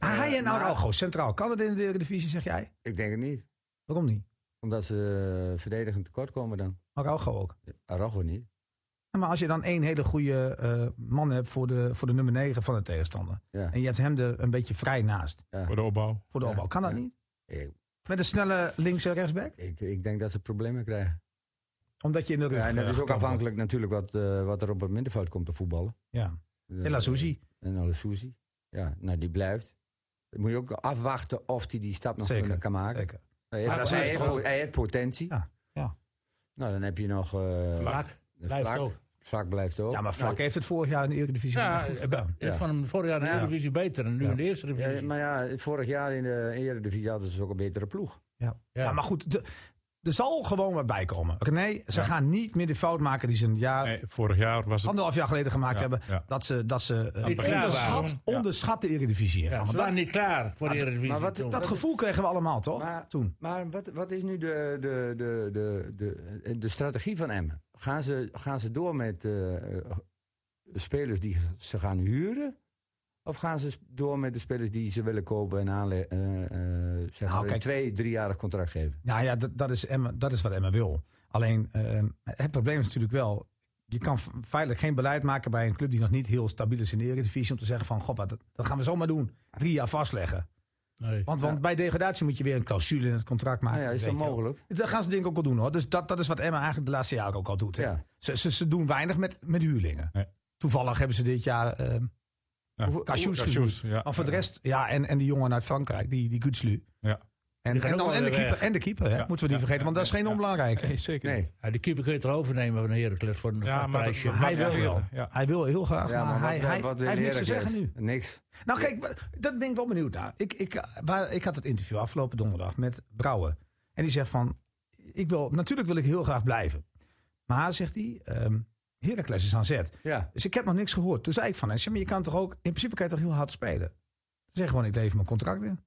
S2: Ah, hij en
S4: maar-
S2: Araujo, centraal. Kan het in de Eredivisie, zeg jij?
S4: Ik denk het niet.
S2: Waarom niet?
S4: Omdat ze eh, verdedigend tekort komen dan.
S2: Araujo ook.
S4: Arroyo niet.
S2: Ja, Maar als je dan één hele goede eh, man hebt voor de, voor de nummer 9 van de tegenstander.
S4: Ja.
S2: En je hebt hem er een beetje vrij naast
S1: voor de opbouw.
S2: voor de
S4: Ja,
S2: opbouw. Kan dat
S4: ja.
S2: niet?
S4: Ik,
S2: Met een snelle links- en rechtsback?
S4: ik, ik denk dat ze problemen krijgen.
S2: Omdat je in de rug...
S4: Ja, en dat
S2: eh,
S4: is ook
S2: gekapt wordt.
S4: afhankelijk natuurlijk wat, eh, wat er op het middenveld komt te voetballen.
S2: Ja. En La Souci,
S4: En alle Suzy. Ja, nou die blijft. Dan moet je ook afwachten of hij die stap nog eh,
S2: Zeker,
S4: kan maken.
S2: zeker.
S4: Hij heeft,
S3: Maar dat
S4: hij,
S3: is
S4: heeft
S3: toch-
S4: po- hij heeft potentie.
S2: Ja, ja.
S4: Nou, dan heb je nog... eh,
S3: Vlak. Blijft
S4: Vlak.
S3: ook.
S4: Vlak blijft ook. Nou,
S2: Ja, maar Vlak heeft het vorig jaar in de Eredivisie
S3: Ja, eh,
S2: goed
S3: ik
S2: gedaan.
S4: Ja.
S3: vond hem vorig jaar in de
S4: Ja.
S3: Eredivisie beter dan nu
S2: Ja.
S3: in de Eerste
S4: Nou, ja,
S3: Divisie.
S4: maar ja, vorig jaar in de Eredivisie hadden ze dus ook een betere ploeg.
S2: Ja. Ja. maar goed, de- er zal gewoon wat bij komen. René, ze gaan niet meer de fout maken die ze een jaar,
S1: Nee, vorig jaar was het
S2: anderhalf jaar geleden gemaakt
S1: Ja,
S2: Ah. hebben.
S1: ja.
S2: Dat ze, dat ze eh,
S3: het begin
S2: onderschat,
S1: waren. Ja.
S2: onderschat de Eredivisie
S3: Ja,
S2: ingaan.
S3: ze
S2: Want
S3: waren niet klaar voor de Eredivisie.
S4: maar wat-
S3: toen.
S2: dat, dat gevoel kregen we allemaal, toch?
S4: Maar-
S2: Toen.
S4: Maar wat, wat is nu de, de, de, de, de, de strategie van Emmen? Gaan ze, gaan ze door met eh, eh, spelers die ze gaan huren? Of gaan ze door met de spelers die ze willen kopen en aanle- eh, eh, zeg maar een
S2: kijk.
S4: twee, driejarig contract geven?
S2: Nou ja, dat, dat, is Emma, dat is wat Emma wil. Alleen, eh, het probleem is natuurlijk wel... Je kan v- feitelijk geen beleid maken bij een club die nog niet heel stabiel is in de Eredivisie... om te zeggen van, god, wat, dat gaan we zomaar doen. Drie jaar vastleggen.
S3: Nee.
S2: Want, want bij degradatie moet je weer een clausule in het contract maken.
S4: Nou ja, is
S2: Ah, weet
S4: dat
S2: je wel.
S4: mogelijk?
S2: Dat gaan ze denk ik ook wel doen hoor. Dus dat, dat is wat Emma eigenlijk de laatste jaren ook al doet. hè.
S4: Ja.
S2: Ze, ze, ze doen weinig met, met huurlingen.
S1: Nee.
S2: Toevallig hebben ze dit jaar uh,
S1: ja.
S2: Cashews
S1: Cashews,
S2: gehuurd.
S1: ja.
S2: Maar voor de rest, ja, en, en die jongen uit Frankrijk, die, die Gutslu.
S1: Ja.
S2: En,
S3: Die gaan
S2: en, dan,
S3: ook
S2: en, de
S3: wel weer
S2: keeper,
S3: weg.
S2: en de keeper, hè?
S1: Ja.
S2: moeten we die
S1: Ja,
S2: vergeten, want
S1: ja,
S2: dat is geen
S1: ja.
S2: onbelangrijke.
S1: Nee, zeker
S4: Nee.
S1: niet.
S3: Ja, die keeper kun je toch overnemen van Heracles voor
S1: Ja,
S3: een vast
S1: maar dat-
S3: prijsje.
S1: maar
S2: Hij wil
S1: Ja,
S2: wel.
S1: ja.
S2: Hij wil heel graag, maar,
S4: wat-
S2: hij, hij,
S4: wat
S2: hij heeft
S4: wil
S2: niks te
S4: Heracles?
S2: zeggen nu.
S4: Niks.
S2: Nou kijk, maar dat ben ik wel benieuwd naar. Ik, ik, eh, waar, ik had het interview afgelopen donderdag met Brouwer. En die zegt van, ik wil, natuurlijk wil ik heel graag blijven. Maar, zegt hij, ehm Heracles is aan zet.
S4: Ja.
S2: Dus ik heb nog niks gehoord. Toen zei ik van, hem, zeg, maar je kan toch ook, in principe kan je toch heel hard spelen? Zeg gewoon, ik leef mijn contract in.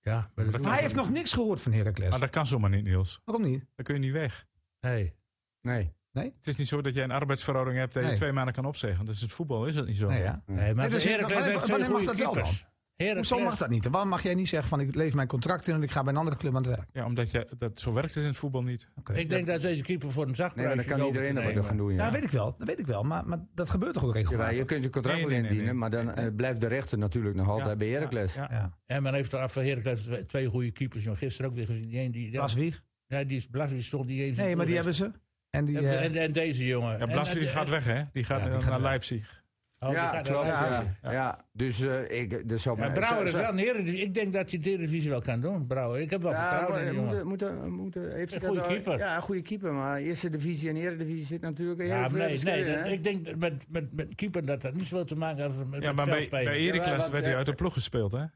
S3: Ja, maar dat
S1: Maar
S3: doet
S2: Maar hij
S3: hij
S2: heeft nog niks gehoord van Heracles.
S1: Maar dat kan zomaar niet, Niels.
S2: Waarom niet?
S1: Dan kun je niet weg.
S3: Nee.
S4: Nee.
S1: Het is niet zo dat jij een arbeidsverhouding hebt dat je
S2: Nee.
S1: twee maanden kan opzeggen. Dus het voetbal is dat niet zo.
S2: Nee, ja.
S3: nee, maar
S2: Nee, dus
S3: Heracles
S2: wanneer-
S3: heeft twee
S2: wanneer mag
S3: goede
S2: dat wel
S3: keepers. Heracles-
S2: Hoezo mag dat niet? En waarom mag jij niet zeggen van, ik leef mijn contract in... en ik ga bij een andere club aan het werk?
S1: Ja, omdat je, dat, zo werkt het in het voetbal niet.
S2: Oké.
S3: Ik denk dat deze keeper voor een zacht
S4: nee maar dan
S3: prijsje
S4: kan
S3: is over
S4: iedereen
S3: te
S4: er wat
S3: nemen.
S4: van
S2: Ja,
S4: doen. Ja.
S2: dat Nou, weet ik wel. Dat weet ik wel. Maar, maar dat gebeurt toch ook
S4: Jawel, je
S2: regelmatig?
S4: kunt je contract
S1: Nee,
S4: wel
S1: nee, nee, nee.
S4: indienen, maar dan eh, blijft de rechter natuurlijk nog altijd
S1: Ja,
S4: bij Heracles.
S1: Ja, ja.
S2: Ja.
S3: En men heeft er voor Heracles twee- twee goede keepers. jongen. Gisteren ook weer gezien. Die een die,
S2: Bas Wieg?
S3: ja, die is Blas, die stond niet eens. in
S2: Nee,
S3: de
S2: maar die
S3: doelrest.
S2: hebben ze. En die, eh,
S3: En, en, en deze jongen.
S1: Ja, Blas
S3: En-
S1: die
S3: en-
S1: gaat weg, hè? Die gaat
S2: Ja, die
S1: eh,
S2: gaat
S1: naar
S2: weg.
S1: Leipzig.
S3: Oh, die
S4: ja,
S3: gaat
S4: klopt.
S3: eruit.
S4: Ja, ja. dus eh, ik, dus zou
S3: Maar
S4: maar-
S3: Brouwer is
S4: zou-
S3: wel een heren. Ik denk dat hij de divisie wel kan doen, Brouwer. Ik heb wel
S4: Ja,
S3: vertrouwen
S4: maar eh,
S3: in die
S4: moet,
S3: jongen.
S4: moet, moet, moet, eh, heeft
S3: Een
S4: hij dat
S3: goede
S4: al-
S3: keeper.
S4: Ja, een goede keeper. Maar eerste divisie en eredivisie zit natuurlijk heel
S3: Ja,
S4: veel
S3: maar nee,
S4: verschil
S3: nee,
S4: in,
S3: dat-
S4: hè?
S3: ik denk dat met, met, met keeper dat dat niet zoveel te maken heeft met,
S1: Ja,
S3: met
S1: maar bij,
S3: veldspelen.
S1: bij
S4: Ja,
S1: Heracles
S4: want,
S1: werd hij
S4: eh,
S1: uit de ploeg gespeeld, hè?
S3: Ja.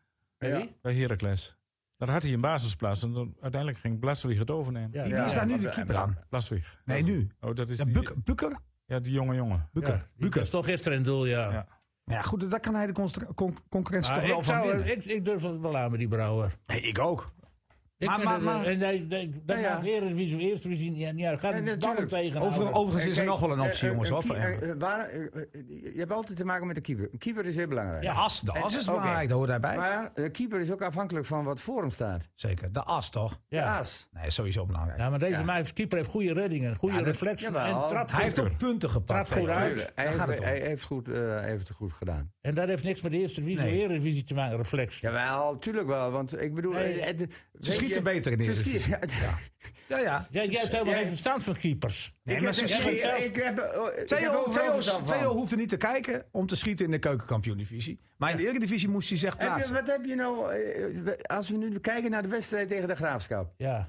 S4: Ja.
S1: Bij Heracles. Daar had hij een basisplaats en dan, uiteindelijk ging Blaswig het overnemen.
S3: Ja,
S2: Wie
S3: ja.
S2: wie is daar nu de
S4: maar-
S2: keeper aan?
S1: Blaswig.
S2: Nee, nu.
S1: Oh, dat is
S2: Ja,
S1: die,
S2: Bukker. Bukker?
S1: ja, die jonge jongen.
S2: Bukker.
S3: Ja, die
S2: Bukker.
S3: was toch gisteren in doel, ja.
S1: Ja.
S2: Ja, goed, daar kan hij de constr- con- concurrentie
S3: Maar
S2: toch wel
S3: Ah, ik,
S2: van
S3: zou,
S2: winnen.
S3: ik, ik durf het wel aan met die Brouwer.
S2: Nee, ik ook.
S3: Ik
S2: Maar-
S3: vind
S2: maar-
S3: het- eh,
S2: maar-
S3: en hij- hij- dat
S4: Ja, ja.
S3: maakt Eredivisie voor eerste divisie niet uit. Ja, gaat
S4: Nee,
S3: hem dan
S4: natuurlijk.
S3: tegen.
S2: Over, overigens is er
S4: Kijk,
S2: nog wel een optie,
S4: eh,
S2: jongens.
S4: eh,
S2: Hoor,
S4: een
S2: voor
S4: keeper-
S2: Emmen.
S4: eh, waar- eh, eh, Je hebt altijd te maken met een keeper. Een keeper is heel belangrijk.
S2: de as, de as
S4: En-
S2: is
S4: oké.
S2: belangrijk, daar hoort hij bij.
S4: Maar de keeper is ook afhankelijk van wat voor hem staat.
S2: Zeker, de as toch?
S3: ja.
S4: Aas.
S2: Nee, is sowieso belangrijk.
S3: ja, maar deze man heeft- keeper heeft goede reddingen, goede
S2: Ja, dat-
S3: reflexen
S4: jawel.
S3: en trapt
S2: hij heeft
S3: goed.
S2: ook punten gepakt.
S3: Trapt goed
S2: hè.
S3: uit.
S4: Tuurlijk, Hij,
S2: gaat het
S4: heeft,
S2: om.
S4: hij heeft goed, eh, heeft het goed gedaan.
S3: En dat heeft niks met de eerste divisie,
S2: Nee.
S3: Eredivisie te maken, reflex.
S4: Jawel, tuurlijk wel. Want ik bedoel...
S3: Nee,
S4: eh, het- weet je-
S2: schieten beter in de
S4: ze schieten-
S2: Ja, ja.
S3: Jij, jij hebt helemaal
S4: Ja.
S3: geen verstand van keepers.
S2: Nee,
S4: Ik
S2: maar
S4: heb-
S2: ze
S4: ik-
S2: schieten-
S4: ik- ik heb- oh, ik heb
S2: Theo,
S4: overal
S2: Theo,
S4: verstand van.
S2: Theo hoeft er niet te kijken om te schieten in de keukenkampioen-divisie. Maar in de Eredivisie moest hij zich
S4: Heb je,
S2: plaatsen.
S4: wat heb je nou, eh, we- als we nu kijken naar de wedstrijd tegen de Graafschap.
S3: Ja.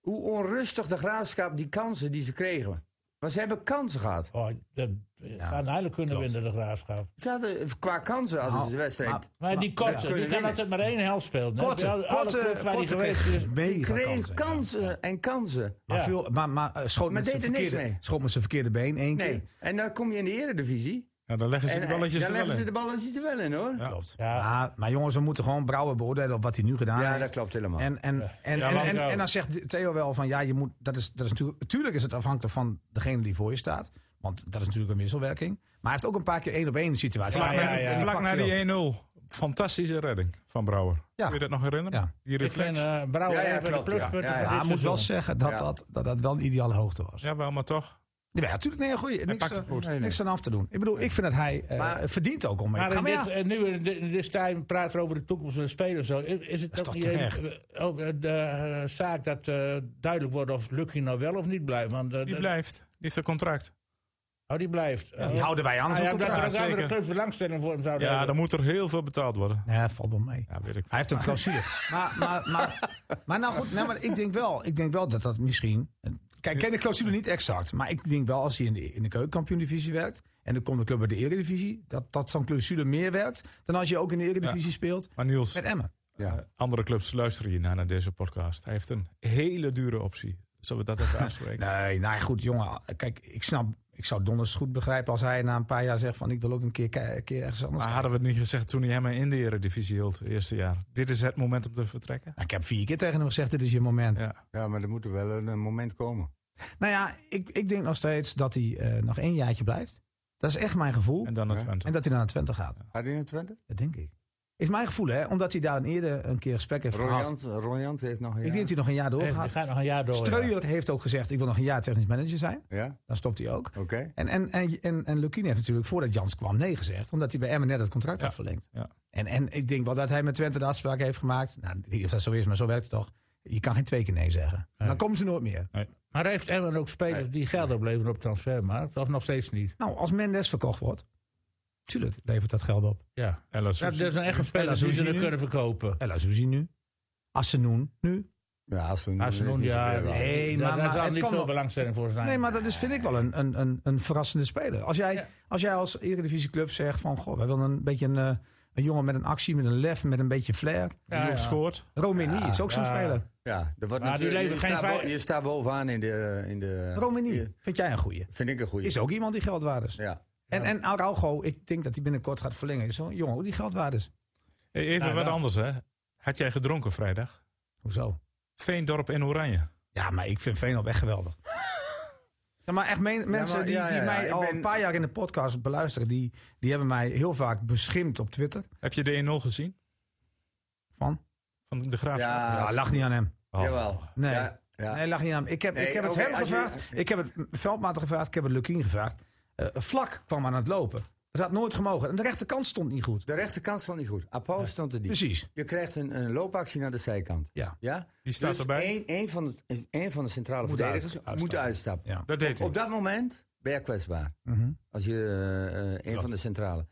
S4: Hoe onrustig de Graafschap die kansen die ze kregen. Maar ze hebben kansen gehad.
S3: Oh, dat eh, gaan eigenlijk kunnen winnen, de graafschap.
S4: Ze hadden, qua kansen hadden
S2: Nou,
S4: ze de wedstrijd. Nou,
S2: maar-
S3: Maar die korte, die
S4: kunnen
S3: kan
S4: winnen.
S3: altijd maar één helft spelen. hè? Bij
S2: Korte,
S3: alle- alle
S2: korte,
S3: clubs waar die
S2: korte
S3: geweest is.
S2: kreeg mega
S4: kreeg
S2: kansen.
S4: kansen, en kansen.
S2: Maar,
S3: Ja.
S2: viel, maar, maar eh, schoot,
S4: Maar
S2: met zijn
S4: deed er niks
S2: verkeerde,
S4: mee.
S2: schoot met zijn verkeerde been één keer.
S4: Nee. En dan kom je in de eredivisie.
S1: Ja, dan leggen ze
S4: En,
S1: de
S4: en eh,
S1: balletjes
S4: dan
S1: er wel
S4: leggen ze
S1: in.
S4: de balletjes er wel in, hoor. Ja,
S2: Klopt.
S3: Ja.
S2: Maar, maar jongens, we moeten gewoon Brouwer beoordelen op wat hij nu gedaan heeft.
S4: dat klopt helemaal.
S2: En, en, en,
S3: Ja,
S2: en,
S3: want-
S2: en, en dan zegt Theo wel van ja, je moet, dat is, dat is natuurlijk, natuurlijk is het afhankelijk van degene die voor je staat. Want dat is natuurlijk een wisselwerking. Maar hij heeft ook een paar keer één op één situaties.
S3: Ja,
S1: Vlak,
S2: En
S1: na-
S3: ja, ja.
S2: die
S1: vlak
S2: pakt
S1: na
S2: hij ook.
S1: die 1-0. Fantastische redding van Brouwer.
S2: Ja.
S1: Kun je dat nog herinneren?
S2: Ja.
S1: Die
S3: Ik
S1: reflex.
S3: vind eh Brouwer
S4: Ja, ja,
S3: een van de
S4: klopt, ja.
S3: pluspunten
S4: Ja,
S3: van
S4: ja.
S2: Ja,
S3: dit
S2: ik moet wel
S3: seizoen.
S2: zeggen dat,
S4: Ja.
S2: dat, dat dat wel een ideale hoogte was. Ja,
S1: Ja, wel, maar toch.
S2: natuurlijk. Nee, goeie, niks,
S1: pakt het
S2: eh,
S1: goed.
S4: Nee, nee.
S2: niks aan af te doen. Ik bedoel, ik vind dat hij eh,
S4: Maar-
S2: verdient ook om mee te
S3: Maar
S2: gaan.
S3: in
S2: Maar
S3: dit,
S2: ja,
S3: eh, nu in dit, in dit stijl praten we over de toekomst van de spelers. Zo. Is is het
S2: Dat is
S3: ook
S2: toch
S3: niet een-
S2: terecht?
S3: eh, ook, eh, de eh, zaak dat eh, duidelijk wordt of Lucky nou wel of niet blijft? Want, eh,
S1: Die
S3: dat-
S1: blijft. Die heeft een contract.
S3: Oh, die blijft.
S2: die houden wij anders
S3: Ah,
S2: op
S3: ja, dat er
S2: contract.
S3: ook andere
S1: zeker.
S3: clubs belangstelling voor hem zouden
S1: Ja, dan
S3: hebben.
S1: moet er heel veel betaald worden.
S2: Nee, valt wel mee.
S1: Ja, weet ik.
S2: Hij heeft een clausule. [LAUGHS] maar, maar, maar, maar nou goed, nou, maar ik, denk wel, ik denk wel dat dat misschien... Kijk, ik ken de clausule niet exact. Maar ik denk wel als hij in de, in de keukenkampioen-divisie werkt... en dan komt de club bij de eredivisie... dat, dat zo'n clausule meer werkt dan als je ook in de eredivisie speelt
S1: Maar Niels,
S2: met Emmen.
S1: eh, andere clubs luisteren hiernaar naar deze podcast. Hij heeft een hele dure optie. Zullen we dat even afspreken?
S2: Nee, nou ja, goed, jongen. Kijk, ik snap... Ik zou donders goed begrijpen als hij na een paar jaar zegt van... ik wil ook een keer, ke- keer ergens anders
S1: Maar hadden we het niet gezegd toen hij hem in de Eredivisie hield, het eerste jaar? Dit is het moment om te vertrekken.
S2: Nou, ik heb vier keer tegen hem gezegd, dit is je moment.
S1: Ja.
S4: maar er moet er wel een, eh, moment komen.
S2: Nou ja, ik, ik denk nog steeds dat hij eh, nog één jaartje blijft. Dat is echt mijn gevoel.
S1: En dan het
S4: Ja.
S1: Twente.
S2: En dat hij dan naar Twente gaat.
S4: Had hij in Twente?
S2: Dat denk ik. Is mijn gevoel, hè? Omdat hij daar een eerder een keer gesprek heeft gehad.
S4: Royant, Royant heeft nog een
S2: Ik denk dat hij
S4: jaar.
S2: nog een jaar
S3: Even, die
S2: doorgaat.
S3: gaat nog een jaar door. ja.
S2: Streuer heeft ook gezegd, ik wil nog een jaar technisch manager zijn.
S4: Ja,
S2: Dan stopt hij ook.
S4: oké.
S2: En, en, en, en, en Lukien heeft natuurlijk voordat Jans kwam nee gezegd. Omdat hij bij Emmen net het contract
S1: Ja.
S2: had verlengd.
S1: Ja.
S2: En, en ik denk wel dat hij met Twente de afspraak heeft gemaakt. Nou, ik weet niet of dat zo is, maar zo werkt het toch. Je kan geen twee keer nee zeggen. Dan komen ze nooit meer.
S3: Maar heeft Emmen ook spelers die geld opleveren op transfermarkt? Of nog steeds niet?
S2: Nou, als Mendes verkocht wordt. Tuurlijk levert dat geld op.
S3: Ja.
S1: En dat
S3: Dat
S1: Soes-
S3: dat zijn echt spelers die ze
S2: Lazouzini
S3: er
S2: nu?
S3: kunnen verkopen.
S2: Ella Suzie nu. Assenoen nu.
S4: Ja, als ze
S3: Als Ah, ze
S4: is
S3: nog
S4: niet
S3: ja,
S4: zoveel waard.
S2: Nee, maar-
S3: daar, daar
S2: maar
S3: zal
S2: het
S3: niet
S2: kan
S3: veel
S2: nog-
S3: belangstelling voor zijn.
S2: Nee, maar dat is, vind ik wel een, een, een, een verrassende speler. Als jij,
S3: Ja.
S2: als jij als Eredivisieclub zegt van... Goh, wij willen een beetje een, eh, een jongen met een actie, met een lef, met een beetje flair.
S1: die ook scoort.
S2: Romini is ook zo'n
S3: Ja.
S2: speler.
S4: Ja, er wordt
S3: Maar die
S4: natuurlijk-
S3: leveren
S4: je,
S3: geen
S4: staat bo-
S3: vijf-
S4: je staat bovenaan in de... In de
S2: Romini,
S4: Ja,
S2: vind jij een goeie?
S4: Vind ik een goede.
S2: Is ook iemand die geldwaardes. is.
S4: Ja.
S2: En, en Araujo, ik denk dat hij binnenkort gaat verlengen. Is Zo'n jongen, die geldwaardes.
S1: Hey, Even
S3: Nou,
S1: wat
S3: ja.
S1: anders, hè? Had jij gedronken vrijdag?
S2: Hoezo?
S1: Veendorp in Oranje.
S2: Ja, maar ik vind Veenop echt
S4: [LAUGHS]
S2: geweldig. Ja, maar echt men- mensen
S4: maar-
S2: die,
S4: ja,
S2: die
S4: ja, ja.
S2: mij
S4: Ik
S2: al
S4: ben-
S2: een paar jaar in de podcast beluisteren... Die, die hebben mij heel vaak beschimd op Twitter.
S1: Heb je de 1-0 gezien?
S2: Van,
S1: Van de Graafschap?
S4: Ja,
S2: ja, lach niet aan hem.
S1: Oh.
S4: Jawel.
S2: Nee.
S4: Ja, ja.
S2: Nee, lag niet aan. Ik heb,
S4: Nee,
S2: ik heb het
S4: oké,
S2: hem
S4: als je-
S2: gevraagd. Ik heb het veldmater gevraagd. Ik heb het Lukien gevraagd. Eh, vlak kwam aan het lopen. Dat had nooit gemogen. En de rechterkant stond niet goed.
S4: De rechterkant stond niet goed. Apollo stond er niet.
S2: Precies.
S4: Je krijgt een, een loopactie naar de zijkant.
S2: Ja.
S4: Ja?
S1: Die staat
S4: dus
S1: erbij.
S4: Een, een, van de, een van de centrale
S2: Moet uit-
S4: verdedigers moet
S2: uitstappen.
S4: uitstappen.
S2: Ja.
S1: Dat deed hij.
S4: Op dat moment ben je kwetsbaar.
S2: Mhm.
S4: Als je eh, eh, een van de centrale.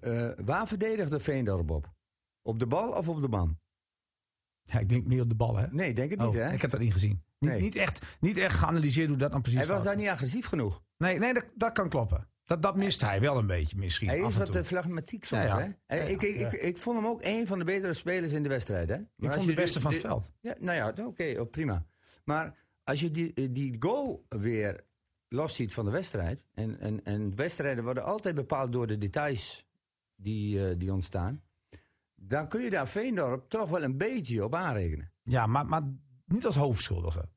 S4: Eh, eh, waar verdedigde Veendorp op? Op de bal of op de man?
S2: ja, ik denk meer op de bal, hè?
S4: Nee, denk het
S2: Oh,
S4: niet, hè?
S2: Ik heb dat niet gezien. Niet,
S4: Nee.
S2: niet, echt, niet echt geanalyseerd hoe dat dan precies
S4: Hij was
S2: zat.
S4: daar niet agressief genoeg.
S2: Nee, nee dat, dat kan kloppen. Dat, dat mist hij wel een beetje misschien.
S4: Hij
S2: af
S4: is
S2: en
S4: wat
S2: toe.
S4: eh, flegmatiek soms,
S2: Ja, ja.
S4: hè? Eh,
S2: Ja, ja.
S4: ik, ik, ik, ik vond hem ook een van de betere spelers in de wedstrijd, hè? Maar
S2: ik
S4: als
S2: vond
S4: je
S2: de beste
S4: dus-
S2: van het
S4: de-
S2: veld.
S4: Ja, nou ja, oké, oh, prima. Maar als je die, eh, die goal weer los ziet van de wedstrijd. En, en, en wedstrijden worden altijd bepaald door de details die, eh, die ontstaan. Dan kun je daar Veendorp toch wel een beetje op aanrekenen.
S2: Ja, maar, maar niet als hoofdschuldige.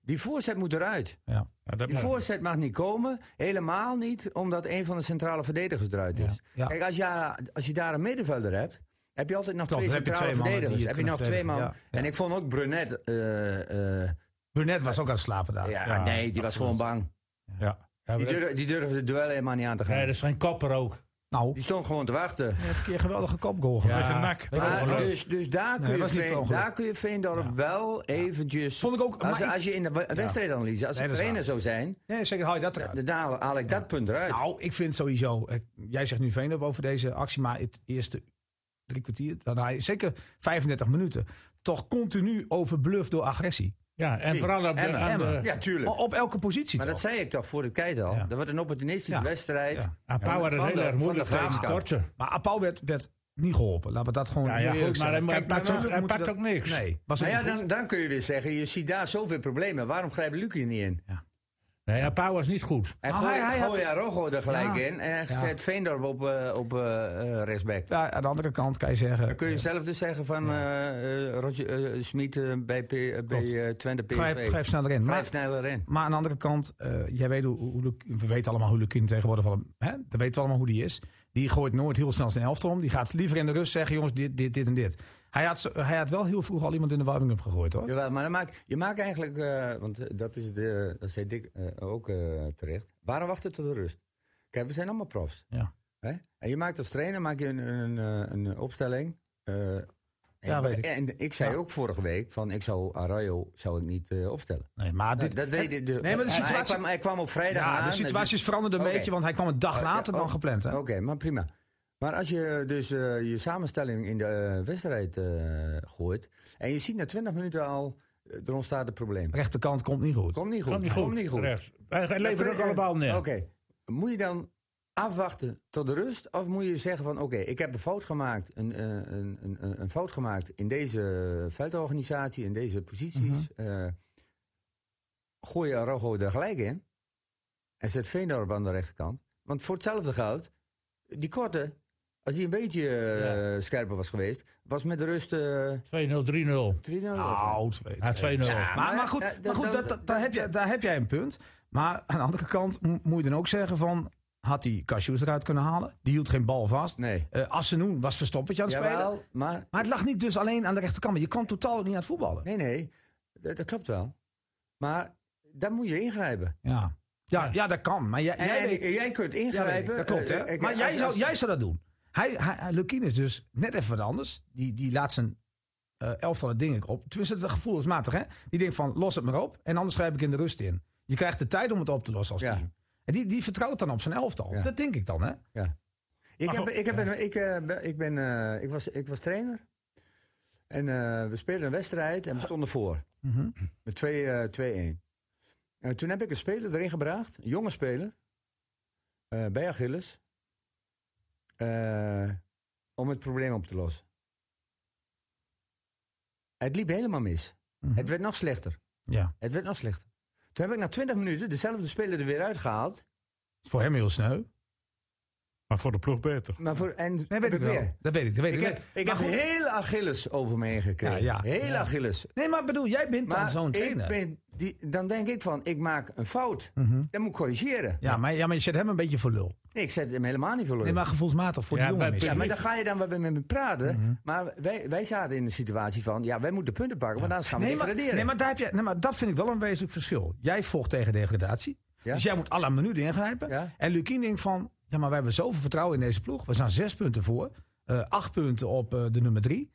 S4: Die voorzet moet eruit.
S2: Ja.
S1: Ja, dat-
S4: Die voorzet mag niet komen. Helemaal niet, omdat een van de centrale verdedigers eruit
S2: Ja.
S4: is.
S2: Ja.
S4: Kijk, als je, als je daar een middenvelder hebt. Heb je altijd nog
S2: Klopt,
S4: twee
S2: dan heb je
S4: centrale
S2: twee mannen die
S4: verdedigers?
S2: het
S4: Heb je nog twee
S2: kunnen
S4: man?
S2: verdedigen, ja.
S4: En ik vond ook Brunet. eh, eh,
S2: Burnett was ook aan het slapen daar.
S4: ja,
S1: Ja,
S4: nee, die was gewoon bang.
S1: ja.
S3: Ja, maar
S4: Die
S3: dat-
S4: durfde, die durfde de duel helemaal niet aan te gaan.
S3: Nee, dat is geen kopper ook.
S2: Nou,
S4: Die stond gewoon te wachten.
S2: hij heeft een keer een geweldige kopgoal gemaakt.
S1: Tegen NAC.
S4: Maar
S3: ongeluk.
S4: dus, dus daar, kun je
S2: was niet per
S4: Veen,
S2: ongeluk.
S4: daar kun je Veendorp wel eventjes...
S2: Vond ik ook-
S4: Als,
S2: maar ik-
S4: als je in de we- wedstrijdanalyse, als
S2: Nee, dat
S4: de
S2: is
S4: trainer zou zijn...
S2: Nee, zeker haal je dat eruit.
S4: Dan haal- haal ik dat punt eruit.
S2: Nou, ik vind sowieso. eh, Jij zegt nu Veenop over deze actie, maar het eerste drie kwartier, dan hij zeker 35 minuten, toch continu overbluft door agressie.
S3: Ja, en
S4: Wie?
S3: vooral op de,
S4: Emmen.
S3: aan de-
S2: Emmen.
S4: Ja, tuurlijk.
S2: O- Op elke positie
S4: maar dat
S2: toch?
S4: zei ik toch voor de tijd al.
S2: Ja.
S4: Dat wordt een opportunistische
S2: Ja.
S4: wedstrijd.
S2: Ja.
S3: aan Ah, Pauw had het
S4: Van
S3: heel
S4: de-
S3: erg
S4: van
S3: moeilijk
S4: de
S3: tegen de
S4: Graafschap.
S3: korte.
S2: Maar Apau werd, werd niet geholpen. Laten we dat gewoon
S3: Ja, ja,
S2: eerlijk
S3: goed, maar
S2: zeggen.
S3: hij- hij pakt
S2: natuurlijk
S3: ook- hij
S2: moeten
S3: pakt
S2: dat-
S3: ook niks.
S2: Nee, was
S4: Nou
S2: ook
S4: ja,
S2: niet
S4: dan, dan kun je weer zeggen, je ziet daar zoveel problemen. Waarom grijpt Luc hier niet in?
S3: Nee, aan Pauw was niet goed.
S4: En
S2: Maar
S4: gooi,
S2: Ah, hij- hij had-
S4: gooi Arogo er gelijk
S2: Ja.
S4: in en hij
S2: Ja.
S4: zet Veendorp op, eh, op eh, eh, rechtsback.
S2: goed. Ja, aan de andere kant kan je
S4: Dan
S2: zeggen...
S4: kun je zelf dus zeggen van eh, eh, Roger eh, Smit eh, bij, P- eh, bij
S2: Klopt.
S4: eh, Twente PSV.
S2: Grijp, grijp sneller in. Maar,
S4: Grijp sneller in.
S2: maar aan de andere kant, eh, jij weet hoe, hoe Luc- we weten allemaal hoe Lucien tegenwoordig van hem... Hè? Dat weten we allemaal hoe die is. Die gooit nooit heel snel zijn helft om. Die gaat liever in de rust zeggen, jongens, dit, dit, dit en dit. Hij had, zo- hij had wel heel vroeg al iemand in de warming-up gegooid, hoor.
S4: Jawel, maar dan maak, je maakt eigenlijk, eh, want eh, dat, is de, dat zei Dick eh, ook eh, terecht. Waarom wachten tot de rust? Kijk, we zijn allemaal profs.
S2: Ja.
S4: Hè? En je maakt als trainer maak je een, een, eh, een opstelling. eh, en,
S2: Ja, weet ik.
S4: en ik zei
S2: Ja.
S4: ook vorige week van ik zou Arroyo zou ik niet eh, opstellen.
S2: Nee, maar
S4: Nou,
S2: dit,
S4: dat weet ik. De,
S2: Nee, maar de
S4: hij,
S2: situatie-
S4: kwam, hij kwam op vrijdag aan.
S2: ja, de
S4: en die-
S2: situaties veranderden een
S4: Oké.
S2: beetje, want hij kwam een dag
S4: Oh, ja,
S2: later dan
S4: oh.
S2: gepland. Hè?
S4: Oké, maar prima. Maar als je dus eh, je samenstelling in de eh, wedstrijd eh, gooit. en je ziet na 20 minuten al. eh, er ontstaat een probleem.
S2: Rechterkant komt niet goed.
S4: Komt niet goed.
S3: Komt niet goed.
S4: Komt niet goed.
S3: Rechts. Hij hij
S4: Dan
S3: levert
S4: kun
S3: ook
S4: je-
S3: allemaal neer.
S4: Oké. Moet je dan afwachten tot de rust? Of moet je zeggen van oké, ik heb een fout gemaakt. Een, eh, een, een, een- een fout gemaakt in deze veldorganisatie, in deze posities.
S3: Mhm.
S4: eh, gooi je Araujo er gelijk in. En zet Veendorp aan de rechterkant. Want voor hetzelfde geld, die korte, als die een beetje eh, scherper was geweest, was met de rust eh
S3: 2-0, 3-0.
S4: 3-0.
S2: Nou, twee-
S3: Ja, 2-0.
S2: Maar, maar
S4: Maar,
S2: goed,
S4: eh,
S2: maar
S4: dat-
S2: goed
S4: dat-
S2: dat, dat- daar, heb je, daar heb jij een punt. Maar aan de andere kant m- moet je dan ook zeggen van... had hij Cassius eruit kunnen halen? Die hield geen bal vast.
S4: Nee.
S2: Eh, Assenoen was verstoppertje aan het spelen.
S4: Jawel, maar
S2: Maar het lag niet dus alleen aan de rechterkant. Maar je kwam totaal ook niet aan het voetballen.
S4: Nee, nee, dat, dat klopt wel. Maar daar moet je ingrijpen.
S2: Ja. Ja, ja, dat kan. Maar jij,
S4: En,
S2: jij
S4: en
S2: weet-
S4: jij kunt
S2: Ja,
S4: ingrijpen.
S2: dat klopt, hè?
S4: Eh, eh,
S2: maar
S4: als-
S2: jij, zou,
S4: als-
S2: jij zou dat doen. Hij, hij, hij- Lukien is dus net even wat anders. Die, die laat zijn eh elftal dingen op. Tenminste, dat gevoel is matig, hè? Die denkt van, los het maar op. En anders schrijf ik in de rust in. Je krijgt de tijd om het op te lossen als
S4: Ja.
S2: team. En die, die vertrouwt dan op zijn elftal.
S4: Ja.
S2: Dat denk ik dan, hè?
S4: Ja. Ik,
S3: Maar
S4: heb,
S3: goed,
S4: ik, heb een- ik, eh, ben- ik, ben, eh, ik, was, ik was trainer. En eh, we speelden een wedstrijd en we stonden voor.
S2: Mhm.
S4: Met 2, eh, 2-1. En toen heb ik een speler erin gebracht. Een jonge speler. eh, bij Achilles. eh, om het probleem op te lossen. Het liep helemaal mis.
S2: Mhm.
S4: Het werd nog slechter.
S2: Ja.
S4: Het werd nog slechter. Toen heb ik na 20 minuten dezelfde speler er weer uitgehaald.
S2: Is voor hem heel sneu.
S1: Maar voor de ploeg beter.
S4: Maar voor, en
S2: Nee, weet ik wel.
S4: weer.
S2: Dat weet ik. Dat weet
S4: Ik
S2: ik.
S4: heb, ik heb
S2: Maar goed.
S4: heel Achilles over me heen gekregen.
S2: Ja, ja.
S4: heel
S2: Ja.
S4: Achilles.
S2: Nee, maar bedoel, jij bent dan
S4: Maar
S2: zo'n
S4: ik
S2: trainer.
S4: ben die, dan denk ik van, ik maak een fout.
S2: Mhm.
S4: Dan moet ik corrigeren.
S2: ja, maar, ja, maar je zet hem een beetje voor lul.
S4: Nee, ik zet hem helemaal niet verloren.
S2: Nee, maar gevoelsmatig voor
S3: Ja,
S2: die jongen.
S3: bij-
S2: is
S4: Ja,
S2: het.
S4: maar dan ga je dan wel met me praten.
S2: Mhm.
S4: Maar wij, wij zaten in de situatie van, ja, wij moeten punten pakken. Want anders gaan we
S2: Nee maar,
S4: degraderen.
S2: nee, maar daar heb je, nee, maar dat vind ik wel een wezenlijk verschil. Jij vocht tegen degradatie.
S4: Ja.
S2: Dus jij moet à la minuut ingrijpen.
S4: Ja.
S2: En Lukien denkt van, ja, maar wij hebben zoveel vertrouwen in deze ploeg. We staan zes punten voor. eh, acht punten op eh, de nummer drie.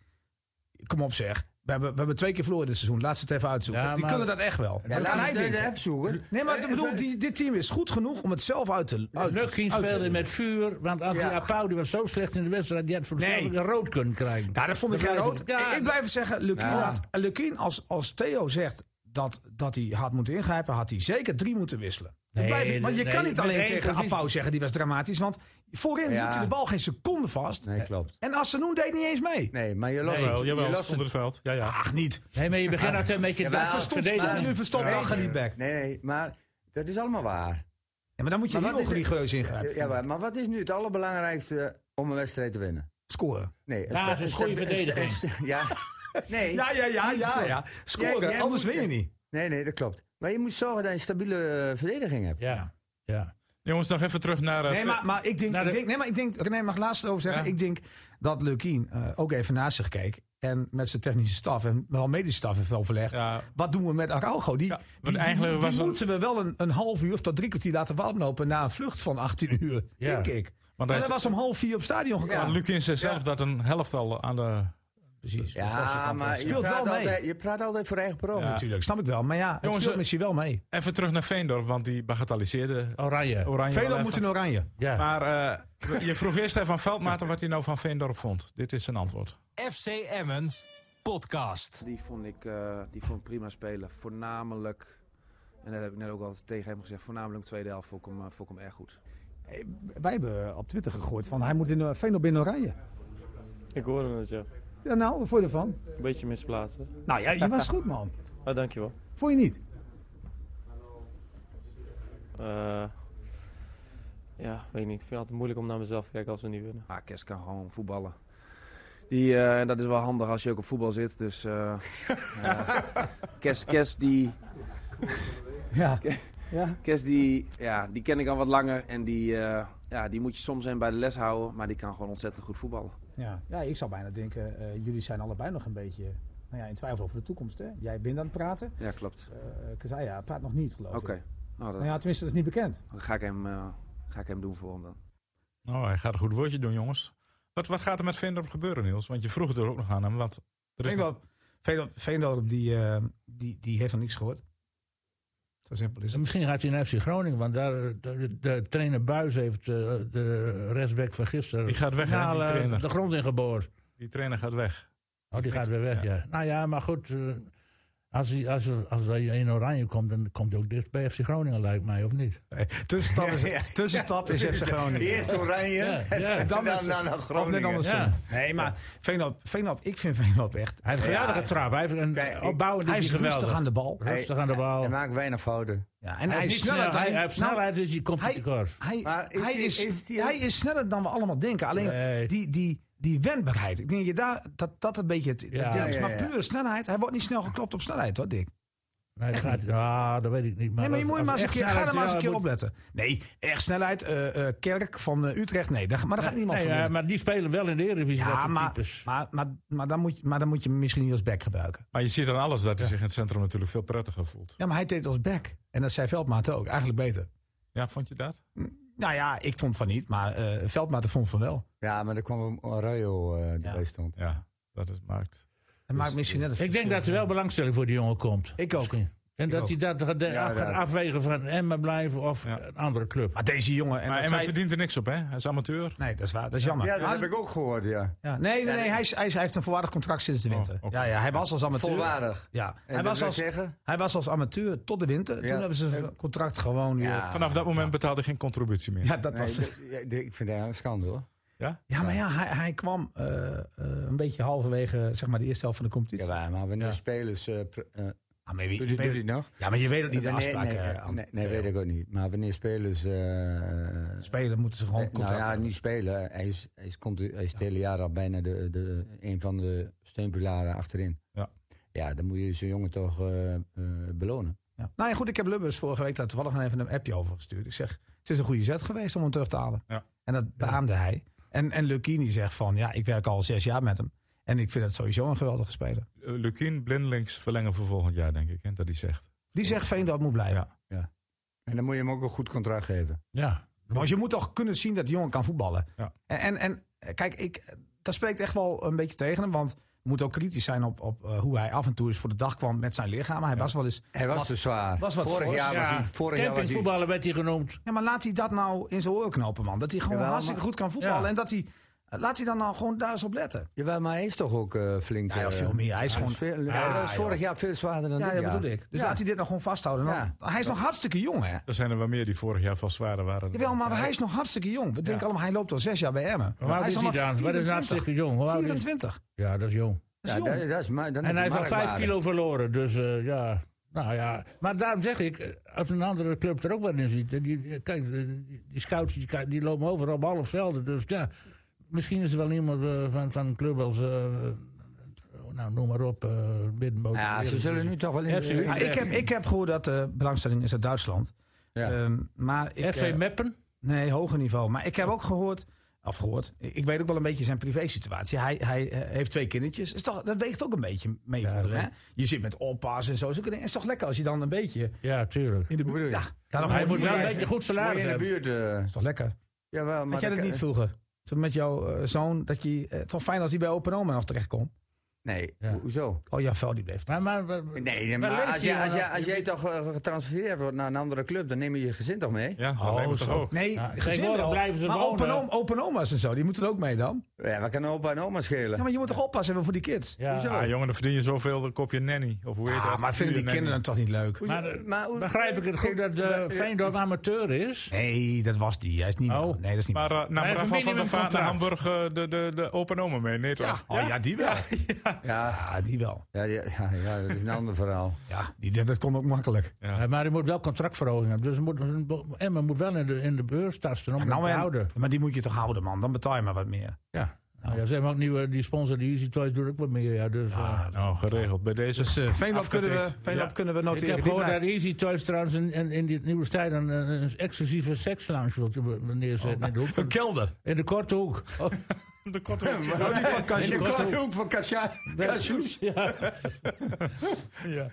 S2: Kom op zeg. We hebben, we hebben twee keer verloren dit seizoen. Laat ze het even uitzoeken.
S3: Ja,
S2: Die
S3: maar-
S2: kunnen dat echt wel.
S4: ja,
S2: Dat kan
S4: laten
S2: hij
S4: we het
S2: denken.
S4: even zoeken.
S2: Nee, maar
S4: Eh,
S2: ik bedoel,
S4: even-
S2: die, dit team is goed genoeg om het zelf uit te... Uit,
S3: Lukking
S2: uit te-
S3: speelde met vuur, want Adrie
S4: Ja.
S3: Apau die was zo slecht in de wedstrijd, die had voor
S2: Nee.
S3: nee. een rood kunnen krijgen.
S2: Nou, dat vond ik
S3: Dat
S2: geen
S3: blijft
S2: rood.
S3: het. Ja,
S2: ik, ik blijf het zeggen, Lukien,
S4: Ja.
S2: had- eh, Lukien, als, als Theo zegt dat, dat hij had moeten ingrijpen, had hij zeker drie moeten wisselen. Dat
S3: Nee,
S2: blijf ik, want je
S3: nee,
S2: kan niet
S3: met
S2: alleen
S3: één
S2: tegen
S3: positie.
S2: Appau zeggen, die was dramatisch. Want voorin
S4: Ja.
S2: hield hij de bal geen seconde vast.
S4: Nee, klopt.
S2: En Assenoen deed niet eens mee.
S4: Nee, maar je lost
S1: Jawel,
S4: het. Je
S1: jawel,
S4: lost
S1: onder
S4: het.
S1: het veld. Ja, ja.
S2: Ach, niet.
S3: Nee, maar je begint altijd een beetje
S4: Jawel,
S3: dat
S4: verstond-
S2: Verstopt,
S3: verdedigen.
S2: stond nu verstopt, dan gaat hij back. Nee,
S4: Nee, nee, maar dat is allemaal waar.
S2: maar dan moet je
S4: Maar
S2: heel
S4: wat is het-
S2: rigoureus ingrijpen.
S4: Ja, maar, maar wat is nu het allerbelangrijkste om een wedstrijd te winnen?
S2: Scoren.
S4: Nee, een
S3: Basis,
S4: sta- een sta-
S3: goede
S4: een sta-
S3: verdediging.
S4: een sta- Ja,
S2: [LAUGHS]
S4: nee.
S2: Ja, ja, ja,
S4: niet
S2: ja. ja.
S4: scoren. Jij-
S2: Scoren,
S4: jij
S2: anders
S4: moet-
S2: win je niet.
S4: Nee, nee, dat klopt. Maar je moet zorgen dat je een stabiele eh, verdediging hebt.
S3: Ja, ja.
S1: Jongens, nog even terug naar... eh,
S2: Nee,
S1: Ve-
S2: maar, maar ik denk,
S3: Nou,
S2: ik
S3: de-
S2: denk, nee, maar ik denk, René mag laatst over zeggen.
S1: Ja.
S2: Ik denk dat Leukien ook even naast zich keek. En met zijn technische staf en wel medische staf heeft overlegd.
S1: Ja.
S2: Wat doen we met Araujo? Die,
S1: Ja,
S2: die,
S1: want
S2: die-
S1: eigenlijk
S2: die
S1: was het-
S2: moeten we wel een, een half uur of tot drie kwartier laten warmlopen na een vlucht van 18 uur.
S3: Ja.
S2: Denk ik. Want
S1: hij
S2: hij
S1: is-
S2: was om half vier op het stadion gekomen.
S1: Maar Lukien zei zelf dat een helft al aan de...
S2: precies.
S4: Ja, maar je
S2: Speelt
S4: praat,
S2: wel mee.
S4: altijd, je praat altijd voor eigen parool.
S2: Oh, Natuurlijk, snap ik wel. Maar ja, het
S1: Jongens,
S2: speelt
S1: eh,
S2: misschien wel mee.
S1: Even terug naar Veendorp, want die bagatelliseerde
S3: Oranje.
S1: Oranje wel
S2: Velen
S1: even.
S2: moeten in oranje.
S3: Ja.
S1: Maar
S2: [LAUGHS]
S1: eh, je vroeg eerst even aan Veldmaten wat hij nou van Veendorp vond. Dit is zijn antwoord.
S5: FC Emmen podcast.
S6: Die vond ik eh, die vond ik prima spelen. Voornamelijk, en dat heb ik net ook al tegen hem gezegd, voornamelijk de tweede helft vond ik hem, eh, vond ik hem erg goed.
S2: Wij hebben op Twitter gegooid van hij moet in eh, Veenop in Oranje.
S7: Ik hoorde het, ja.
S2: Ja, nou, wat vond je ervan?
S7: Een beetje misplaatst. hè.
S2: Nou ja, je was goed man.
S7: Ah, dankjewel.
S2: Vond je niet?
S7: Eh ja, weet ik niet. Ik vind het altijd moeilijk om naar mezelf te kijken als we niet winnen.
S6: Maar Kes kan gewoon voetballen. Die, eh, en dat is wel handig als je ook op voetbal zit. Dus eh eh, [LAUGHS] Kes, Kes, die,
S2: Ja. ja.
S6: Kes die, ja, die ken ik al wat langer. En die, eh, ja, die moet je soms even bij de les houden. Maar die kan gewoon ontzettend goed voetballen.
S2: Ja. ja, ik zou bijna denken, eh, jullie zijn allebei nog een beetje nou ja, in twijfel over de toekomst. Hè? Jij bent aan het praten,
S6: Ja, klopt.
S2: Eh Kazaya praat nog niet geloof
S6: Oké.
S2: ik.
S6: Nou, dat
S2: Nou ja, tenminste, dat is niet bekend.
S6: ga, ik hem, eh, ga ik hem doen voor hem dan.
S1: Nou, hij gaat een goed woordje doen, jongens. Wat, wat gaat er met Veendorp gebeuren, Niels? Want je vroeg het er ook nog aan hem. Want er is nog-
S2: Veendorp, Veendorp, Veendorp die, eh, die, die heeft nog niks gehoord. Zo simpel is het.
S3: Misschien gaat hij naar FC Groningen, want daar, eh, de, de trainer Buis heeft eh, de rechtsback van gisteren
S1: Die gaat weg, hè,
S2: Nou,
S3: finaal,
S1: die
S3: eh,
S1: trainer.
S3: de grond in geboord.
S1: die trainer gaat weg.
S3: Oh, die gaat weer weg, ja. Nou ja, maar goed, eh, als hij, als, er- als hij in Oranje komt, dan komt hij ook dicht bij FC Groningen, lijkt mij, of niet?
S2: Tussenstap
S3: [LAUGHS]
S2: is, tussenstap is FC Groningen.
S4: Eerst Oranje
S3: Ja, ja.
S4: [LAUGHS] en dan, dan, dan, naar
S2: Of net
S4: Groningen.
S2: andersom.
S3: Ja.
S2: Nee, maar Veenop, Veenop, ik vind Veenop echt...
S3: Hij heeft een geweldige trap, hij heeft een
S4: Kijk,
S3: opbouwend
S2: Hij
S3: is
S2: is
S3: hij geweldig.
S2: rustig aan de bal.
S3: Rustig aan de
S2: Oh.
S3: bal.
S4: Hij maakt weinig fouten.
S2: Ja, en
S3: Hij
S2: hij
S3: heeft
S2: is
S3: niet
S2: sneller
S3: snel-
S2: dan...
S3: hij- hij heeft
S2: nou,
S3: snelheid, dus hij komt
S2: hij-
S3: tekort.
S2: Hij,
S4: Maar is
S2: hij,
S4: die-
S2: is,
S4: is die-
S2: hij is sneller dan we allemaal denken. Alleen
S3: Nee.
S2: die, die, die wendbaarheid. Ik denk je daar, dat dat een beetje het het
S3: Ja.
S2: ding is.
S4: Ja, ja,
S2: Maar
S4: ja.
S2: puur snelheid. Hij wordt niet snel geklopt op snelheid hoor, Dick.
S3: Nee, het gaat, ah, dat weet ik niet.
S2: nee, maar
S3: Maar,
S2: je
S3: als-
S2: moet
S3: als
S2: maar eens een
S3: echt
S2: keer, ga
S3: snelheid-
S2: er maar eens een
S3: ja,
S2: keer
S3: moet-
S2: op letten. Nee, echt snelheid. eh, eh, Kerk van eh, Utrecht, nee. Daar, maar daar gaat niemand
S3: Nee,
S2: van
S3: ja,
S2: winnen.
S3: maar die spelen wel in de Eredivisie, dat
S2: Ja,
S3: soort
S2: maar,
S3: types.
S2: maar, maar, maar, dan moet, je- maar dan moet je hem misschien niet als back gebruiken.
S1: Maar je ziet aan alles dat hij zich in het centrum natuurlijk veel prettiger voelt.
S2: Ja, maar hij deed het als back. En dat zei Veldmaat ook. Eigenlijk beter.
S1: Ja, vond je dat?
S2: Nou ja, ik vond van niet, maar eh Veldmaat vond van wel.
S4: Ja, maar er kwam Arroyo eh erbij stond.
S1: Ja, dat is, maakt.
S2: Dat maakt misschien net een
S3: Dus- Ik denk dat er wel beangstelling voor die jongen komt.
S2: Ik ook.
S3: Misschien. En dat
S2: ook.
S3: hij dat gaat,
S4: Ja,
S3: gaat
S4: dat-
S3: afwegen van Emma blijven of
S1: Ja.
S3: een andere club.
S2: Maar deze jongen... En
S1: Maar
S2: dat
S1: Emma
S2: zei-
S1: verdient er niks op, hè? Hij is amateur.
S2: Nee, dat is waar. Dat is jammer.
S4: Ja, dat
S2: Maar-
S4: heb ik ook gehoord, ja.
S2: Ja, Nee, nee, nee hij, is- hij, is- hij heeft een voorwaardig contract sinds de winter.
S1: oké.
S2: ja, ja, hij was als amateur.
S4: Volwaardig.
S2: Ja,
S4: En
S2: hij
S4: dat
S2: was,
S4: wil
S2: als,
S4: zeggen?
S2: hij was als amateur tot de winter.
S4: Ja.
S2: Toen hebben ze zijn contract gewoon weer... Ah, Ja,
S4: Ja.
S1: Vanaf dat moment betaalde hij geen contributie meer.
S2: dat
S4: Nee,
S2: was
S4: d- ja, d- ik vind dat een schande hoor.
S1: Ja?
S2: Ja, maar ja, hij, hij kwam eh, eh, een beetje halverwege zeg maar, de eerste helft van de competitie.
S4: Ja,
S2: Ja,
S4: maar wanneer spelers. eh, pr- eh,
S2: maar je,
S4: doe
S2: je
S4: die- doe
S2: weet,
S4: die nog?
S2: ja, maar je weet ook niet de
S4: Wanneer-
S2: afspraak.
S4: nee,
S2: eh,
S4: nee,
S2: aan
S4: nee, nee, weet ik ook niet. Maar wanneer spelers. eh,
S2: Spelen moeten ze gewoon
S4: Nee,
S2: contract
S4: nou ja,
S2: hebben.
S4: nu spelen. Hij is, hij is, komt, hij is het hele jaar al bijna de, de, een van de steunpilaren achterin.
S1: Ja.
S4: Ja, dan moet je zo'n jongen toch eh, eh, belonen.
S2: Ja. Nou ja, goed, ik heb Lubbers vorige week daar toevallig nog even een appje over gestuurd. Ik zeg, het is een goede zet geweest om hem terug te halen.
S1: Ja.
S2: En dat beaamde hij. En, en Lucchini zegt van, ja, ik werk al zes jaar met hem. En ik vind het sowieso een geweldige speler.
S1: Eh, Lukien, blindelings verlengen voor volgend jaar, denk ik. Hè? Dat hij zegt.
S2: Die zegt Veendorp moet blijven.
S1: Ja.
S4: En dan moet je hem ook een goed contract geven.
S3: Ja.
S2: Want je moet toch kunnen zien dat die jongen kan voetballen.
S1: Ja.
S2: En, en, en eh, kijk, ik, dat spreekt echt wel een beetje tegen hem. Want we moeten ook kritisch zijn op, op eh, hoe hij af en toe eens voor de dag kwam met zijn lichaam. Hij was wel eens...
S4: Hij was te zwaar.
S2: was wat
S4: vorig
S2: fors,
S4: jaar was
S3: Ja,
S4: hij. Vorig jaar was hij.
S3: Campingvoetballer werd hij genoemd.
S2: Ja, maar laat hij dat nou in zijn oren knopen, man. Dat hij gewoon
S4: Jawel,
S2: hartstikke
S4: maar-
S2: goed kan voetballen.
S3: Ja.
S2: En dat hij... Laat hij dan nou gewoon daar eens op letten.
S4: Jawel, maar hij is toch ook eh, flink.
S2: Ja, ja,
S4: eh,
S2: veel meer. Hij is gewoon-
S4: veel-
S2: Ja,
S4: hij was
S2: joh.
S4: vorig jaar veel zwaarder dan
S2: Ja,
S4: dit
S2: dat
S4: jaar.
S2: bedoel ik. Dus
S4: Ja.
S2: laat hij dit nou gewoon vasthouden. Dan-
S4: Ja.
S2: Hij is nog hartstikke jong, hè?
S1: Er zijn er wel meer die vorig jaar vast zwaarder waren. dan-
S2: Jawel, maar hij is nog hartstikke jong. We denken allemaal, hij loopt al zes jaar bij Emmen.
S3: Hoe oud
S2: hij
S3: is hij
S2: nog maar
S3: dan? Wat is
S2: 24.
S3: hartstikke jong? Hoe oud is
S2: 24.
S3: Ja, dat is jong.
S2: Dat is
S4: Ja,
S2: jong.
S4: dat, dat is, maar, dan
S3: En hij
S4: heb
S3: heeft
S4: je
S3: al vijf
S4: marktwaarde.
S3: kilo verloren, dus eh, ja. Nou ja, maar daarom zeg ik, eh, als een andere club er ook wat in ziet. eh, Die, eh, kijk, eh, die die scouts die, ki- die lopen overal op alle velden. Dus ja, misschien is er wel iemand eh, van, van een club als. eh, eh, nou, noem maar op, eh Middenboot.
S4: Ja, ze zullen nu toch wel in
S3: FC
S2: Ja, ik, heb, ik heb gehoord dat de belangstelling is uit Duitsland.
S4: Ja.
S2: Ehm, maar ik,
S3: FC
S2: eh,
S3: Meppen?
S2: nee, hoger niveau. Maar ik heb ook gehoord, of gehoord, ik ik weet ook wel een beetje zijn privé-situatie. Hij, hij eh, heeft twee kindertjes. Is toch, dat weegt ook een beetje mee
S3: Ja,
S2: voor hem,
S3: leuk.
S2: hè? Je zit met oppas en zo. zulke dingen. Het is toch lekker als je dan een beetje
S3: Ja, tuurlijk.
S2: in de buurt... Ja, daarom
S3: Hij moet wel een
S2: Ja,
S3: beetje goed
S4: Moet je
S3: salaris
S4: in de
S3: hebben.
S4: buurt. eh,
S2: is toch lekker.
S4: jawel, maar
S2: Had jij dat
S4: dan-
S2: niet vroeger? Toen met jouw eh, zoon, dat je, eh, het was fijn als hij bij Open Oma nog terecht kon.
S4: Nee,
S3: Ja.
S4: ho- hoezo?
S2: Oh ja, Vel die bleef.
S3: Maar, maar, maar-
S4: Nee,
S3: Waar
S4: maar
S3: leeft
S4: als,
S3: hij
S4: jij- als,
S3: dan
S4: jij-
S3: op?
S4: als jij toch eh, getransfereerd wordt naar een andere club, dan neem je je gezin toch mee?
S1: Ja, dat lijkt me toch
S2: Oh, zo.
S1: ook.
S2: Nee,
S3: Oh, Ja,
S2: gezin
S3: tegenwoordig
S2: wel.
S3: blijven ze
S2: maar
S3: wonen.
S2: open, om- open oma's en zo, die moeten er ook mee dan.
S4: Ja, wat kan opa en oma schelen?
S2: Ja, maar je moet toch oppassen voor die kids?
S3: ja.
S1: Ja, Ah, jongen, dan verdien je zoveel, dan koop je een nanny. Of hoe heet
S2: Ah,
S1: dat?
S2: maar vinden die
S1: Huur een nanny.
S2: kinderen dan toch niet leuk?
S4: Hoezo?
S3: Maar, eh,
S4: hoe-
S3: Begrijp ik het goed dat eh
S4: Ja,
S3: Feyenoord amateur is?
S2: Nee, dat was die. Hij is niet.
S3: Oh.
S2: meer. Nee, dat is niet.
S1: Maar
S2: meer.
S1: eh, nam
S3: Wij
S1: Rafa van der
S3: verminimum
S1: Vaart naar
S3: contract.
S1: Hamburg eh, de, de, de open oma mee? Nee, toch?
S2: ja, oh, ja, die wel. Ja,
S4: Ja,
S2: die wel.
S4: ja, ja, ja, ja, dat is een [LAUGHS] ander verhaal.
S2: Ja, die, dat, dat kon ook makkelijk.
S3: Ja, Eh, maar hij moet wel contractverhoging hebben. Dus er moet, Emma moet wel in de, in de beurs tasten om
S2: Maar,
S3: hem
S2: nou,
S3: te
S2: en-
S3: houden.
S2: maar die moet je toch houden, man. Dan betaal je maar wat meer.
S3: Ja. Nou, ja, ze hebben ook nieuwe, die sponsor, die Easy Toys, doet ook wat meer. Ja, dus, eh,
S1: Nou, geregeld. Bij deze
S2: Dus eh Veenlap
S1: Afgetikt.
S2: kunnen we, Veenlap
S1: Ja.
S2: kunnen we
S3: ik
S2: noteren.
S3: heb
S2: Die
S3: gehoord dat
S2: blijft.
S3: Easy Toys trouwens in, in, in dit nieuwe stijl een, een, een exclusieve sekslounge wil te- neerzetten. in, de hoek
S2: Een
S3: van-
S2: kelder.
S3: in de korte hoek.
S1: de korte
S2: [LAUGHS] Oh, die van Cashew.
S3: Nee, die
S2: Cashew.
S3: komt
S2: ook van Cashew. Cashews.
S3: Ja.
S1: Ja.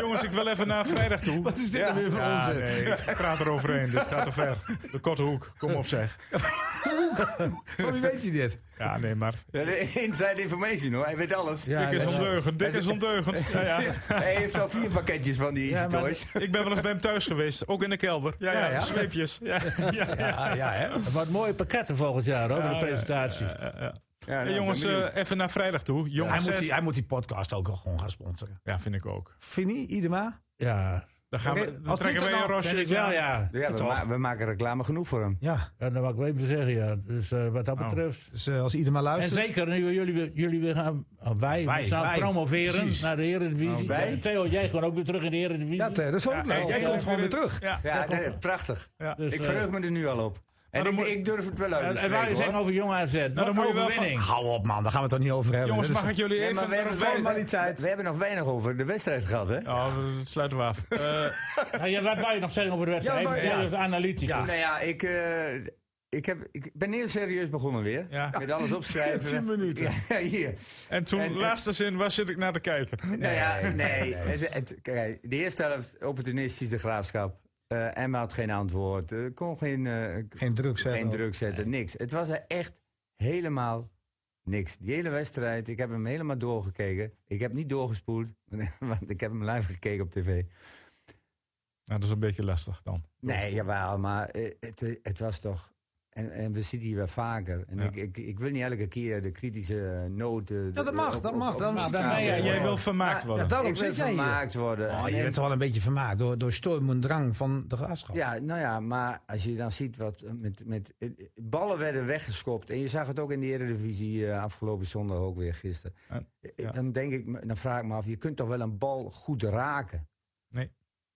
S1: Jongens, ik wil even naar vrijdag toe.
S2: Wat is dit nou weer voor
S1: Ja,
S2: [LAUGHS] onzin?
S1: nee, ik praat eroverheen. Dit gaat te ver. De korte hoek, kom op zeg.
S2: [LAUGHS] Van wie weet hij dit?
S1: Ja, nee, maar...
S4: Ja, de [LAUGHS] inside information hoor, hij weet alles.
S3: Ja,
S1: Dik is
S3: ja.
S1: ondeugend, dik is ondeugend. Ja, ja.
S4: Hij heeft al vier pakketjes van die
S3: Ja,
S4: Easy
S3: maar-
S4: Toys.
S1: Ik ben wel eens bij hem thuis geweest, ook in de kelder. Ja, ja,
S2: Ja, ja.
S1: zweepjes. Ja, ja, ja.
S2: Ja, Ah, ja, hè?
S3: Wat mooie pakketten volgend jaar hoor, voor de presentatie.
S1: Ja, ja, ja.
S4: Ja,
S1: Hey, jongens, eh, even naar vrijdag toe.
S2: Hij
S1: Jongens,
S2: moet,
S1: zet.
S2: die, hij moet die podcast ook al gewoon gaan sponsoren.
S1: Ja, vind ik ook.
S2: Fini, Idema?
S3: Ja,
S1: Dan, gaan
S2: Oké,
S1: we, dan
S2: als
S1: trekken
S2: dit
S1: wij
S2: er
S1: een
S2: nou-
S1: rosje.
S3: vind ik wel, ja.
S4: ja, we, ma- we maken reclame genoeg voor hem.
S2: Ja,
S3: Ja, dat mag ik wel even zeggen, ja. Dus eh, wat dat
S1: Oh.
S3: betreft...
S2: dus eh, als Idema
S3: En
S2: luistert...
S3: zeker nu we jullie, weer- jullie weer gaan, oh, wij,
S2: Wij,
S3: gaan
S2: wij.
S3: promoveren
S2: Precies.
S3: naar de Eredivisie.
S4: wij.
S3: Ja, Theo, jij kan ook weer terug in de Eredivisie.
S2: Ja, Ter, dat eh, is ook
S1: Ja,
S2: leuk.
S1: ik-
S2: Jij
S1: ik-
S2: komt gewoon weer terug.
S1: Ja.
S4: Ja, nee, prachtig.
S3: Dus,
S4: Ik
S3: eh,
S4: verheug me er nu al op. En
S1: dan
S4: ik,
S1: moet-
S4: ik durf het wel uit te
S3: en, en
S4: spreken,
S3: waar je Eh, zeggen
S4: hoor.
S3: over Jong AZ? Wat
S1: dan
S3: een
S1: moet je wel
S3: overwinning.
S2: [LAUGHS] Hou op, man. Daar gaan we het toch niet over hebben.
S1: Jongens,
S2: Dit is-
S1: mag ik jullie
S4: Nee,
S1: even...
S4: maar we hebben,
S1: wij-
S4: formaliteit. we hebben nog weinig over de wedstrijd gehad, hè?
S1: Oh, dat sluiten we
S2: [LAUGHS]
S1: af. Eh,
S3: Ja, ja, wat wou je nog zeggen over de wedstrijd?
S2: Ja,
S3: Ja,
S2: maar- ja.
S3: dat is analytisch. Ja.
S4: Nou ja, ik, eh, ik, heb, ik ben heel serieus begonnen weer.
S1: Ja.
S4: Met [LAUGHS] alles opschrijven.
S2: 10 minuten.
S4: [LAUGHS] Ja, hier.
S1: en toen,
S4: En- en-
S1: laatste zin, waar zit ik naar te kijken?
S4: Nou ja, nee. Het, het- kijk, de eerste helft opportunistisch de graafschap. Eh Emma had geen antwoord. eh, kon geen, eh,
S2: Geen druk zetten.
S4: geen druk zetten. Niks. Het was er echt helemaal niks. Die hele wedstrijd, ik heb hem helemaal doorgekeken. Ik heb niet doorgespoeld, [LAUGHS] want ik heb hem live gekeken op tv.
S1: Nou, dat is een beetje lastig dan.
S4: Nee, jawel, maar eh, het, eh, het was toch... En, en we zitten hier wel vaker. En
S1: Ja.
S4: ik, ik, ik wil niet elke keer de kritische noten... eh,
S2: Ja, dat mag, dat mag. Dan-
S3: dan ben jij-
S1: Ja, jij wil vermaakt worden.
S2: Ja, daarom
S4: ik wil
S2: zit jij hier.
S4: vermaakt worden.
S2: Oh,
S4: En-
S2: je bent toch wel een beetje vermaakt door, door Storm en Drang van de graafschap.
S4: Ja, nou ja, maar als je dan ziet wat eh, met, met eh, ballen werden weggeschopt. En je zag het ook in de Eredivisie eh, afgelopen zondag ook weer gisteren.
S1: En-
S4: Eh,
S1: ja.
S4: Dan denk ik, me- dan vraag ik me af, je kunt toch wel een bal goed raken.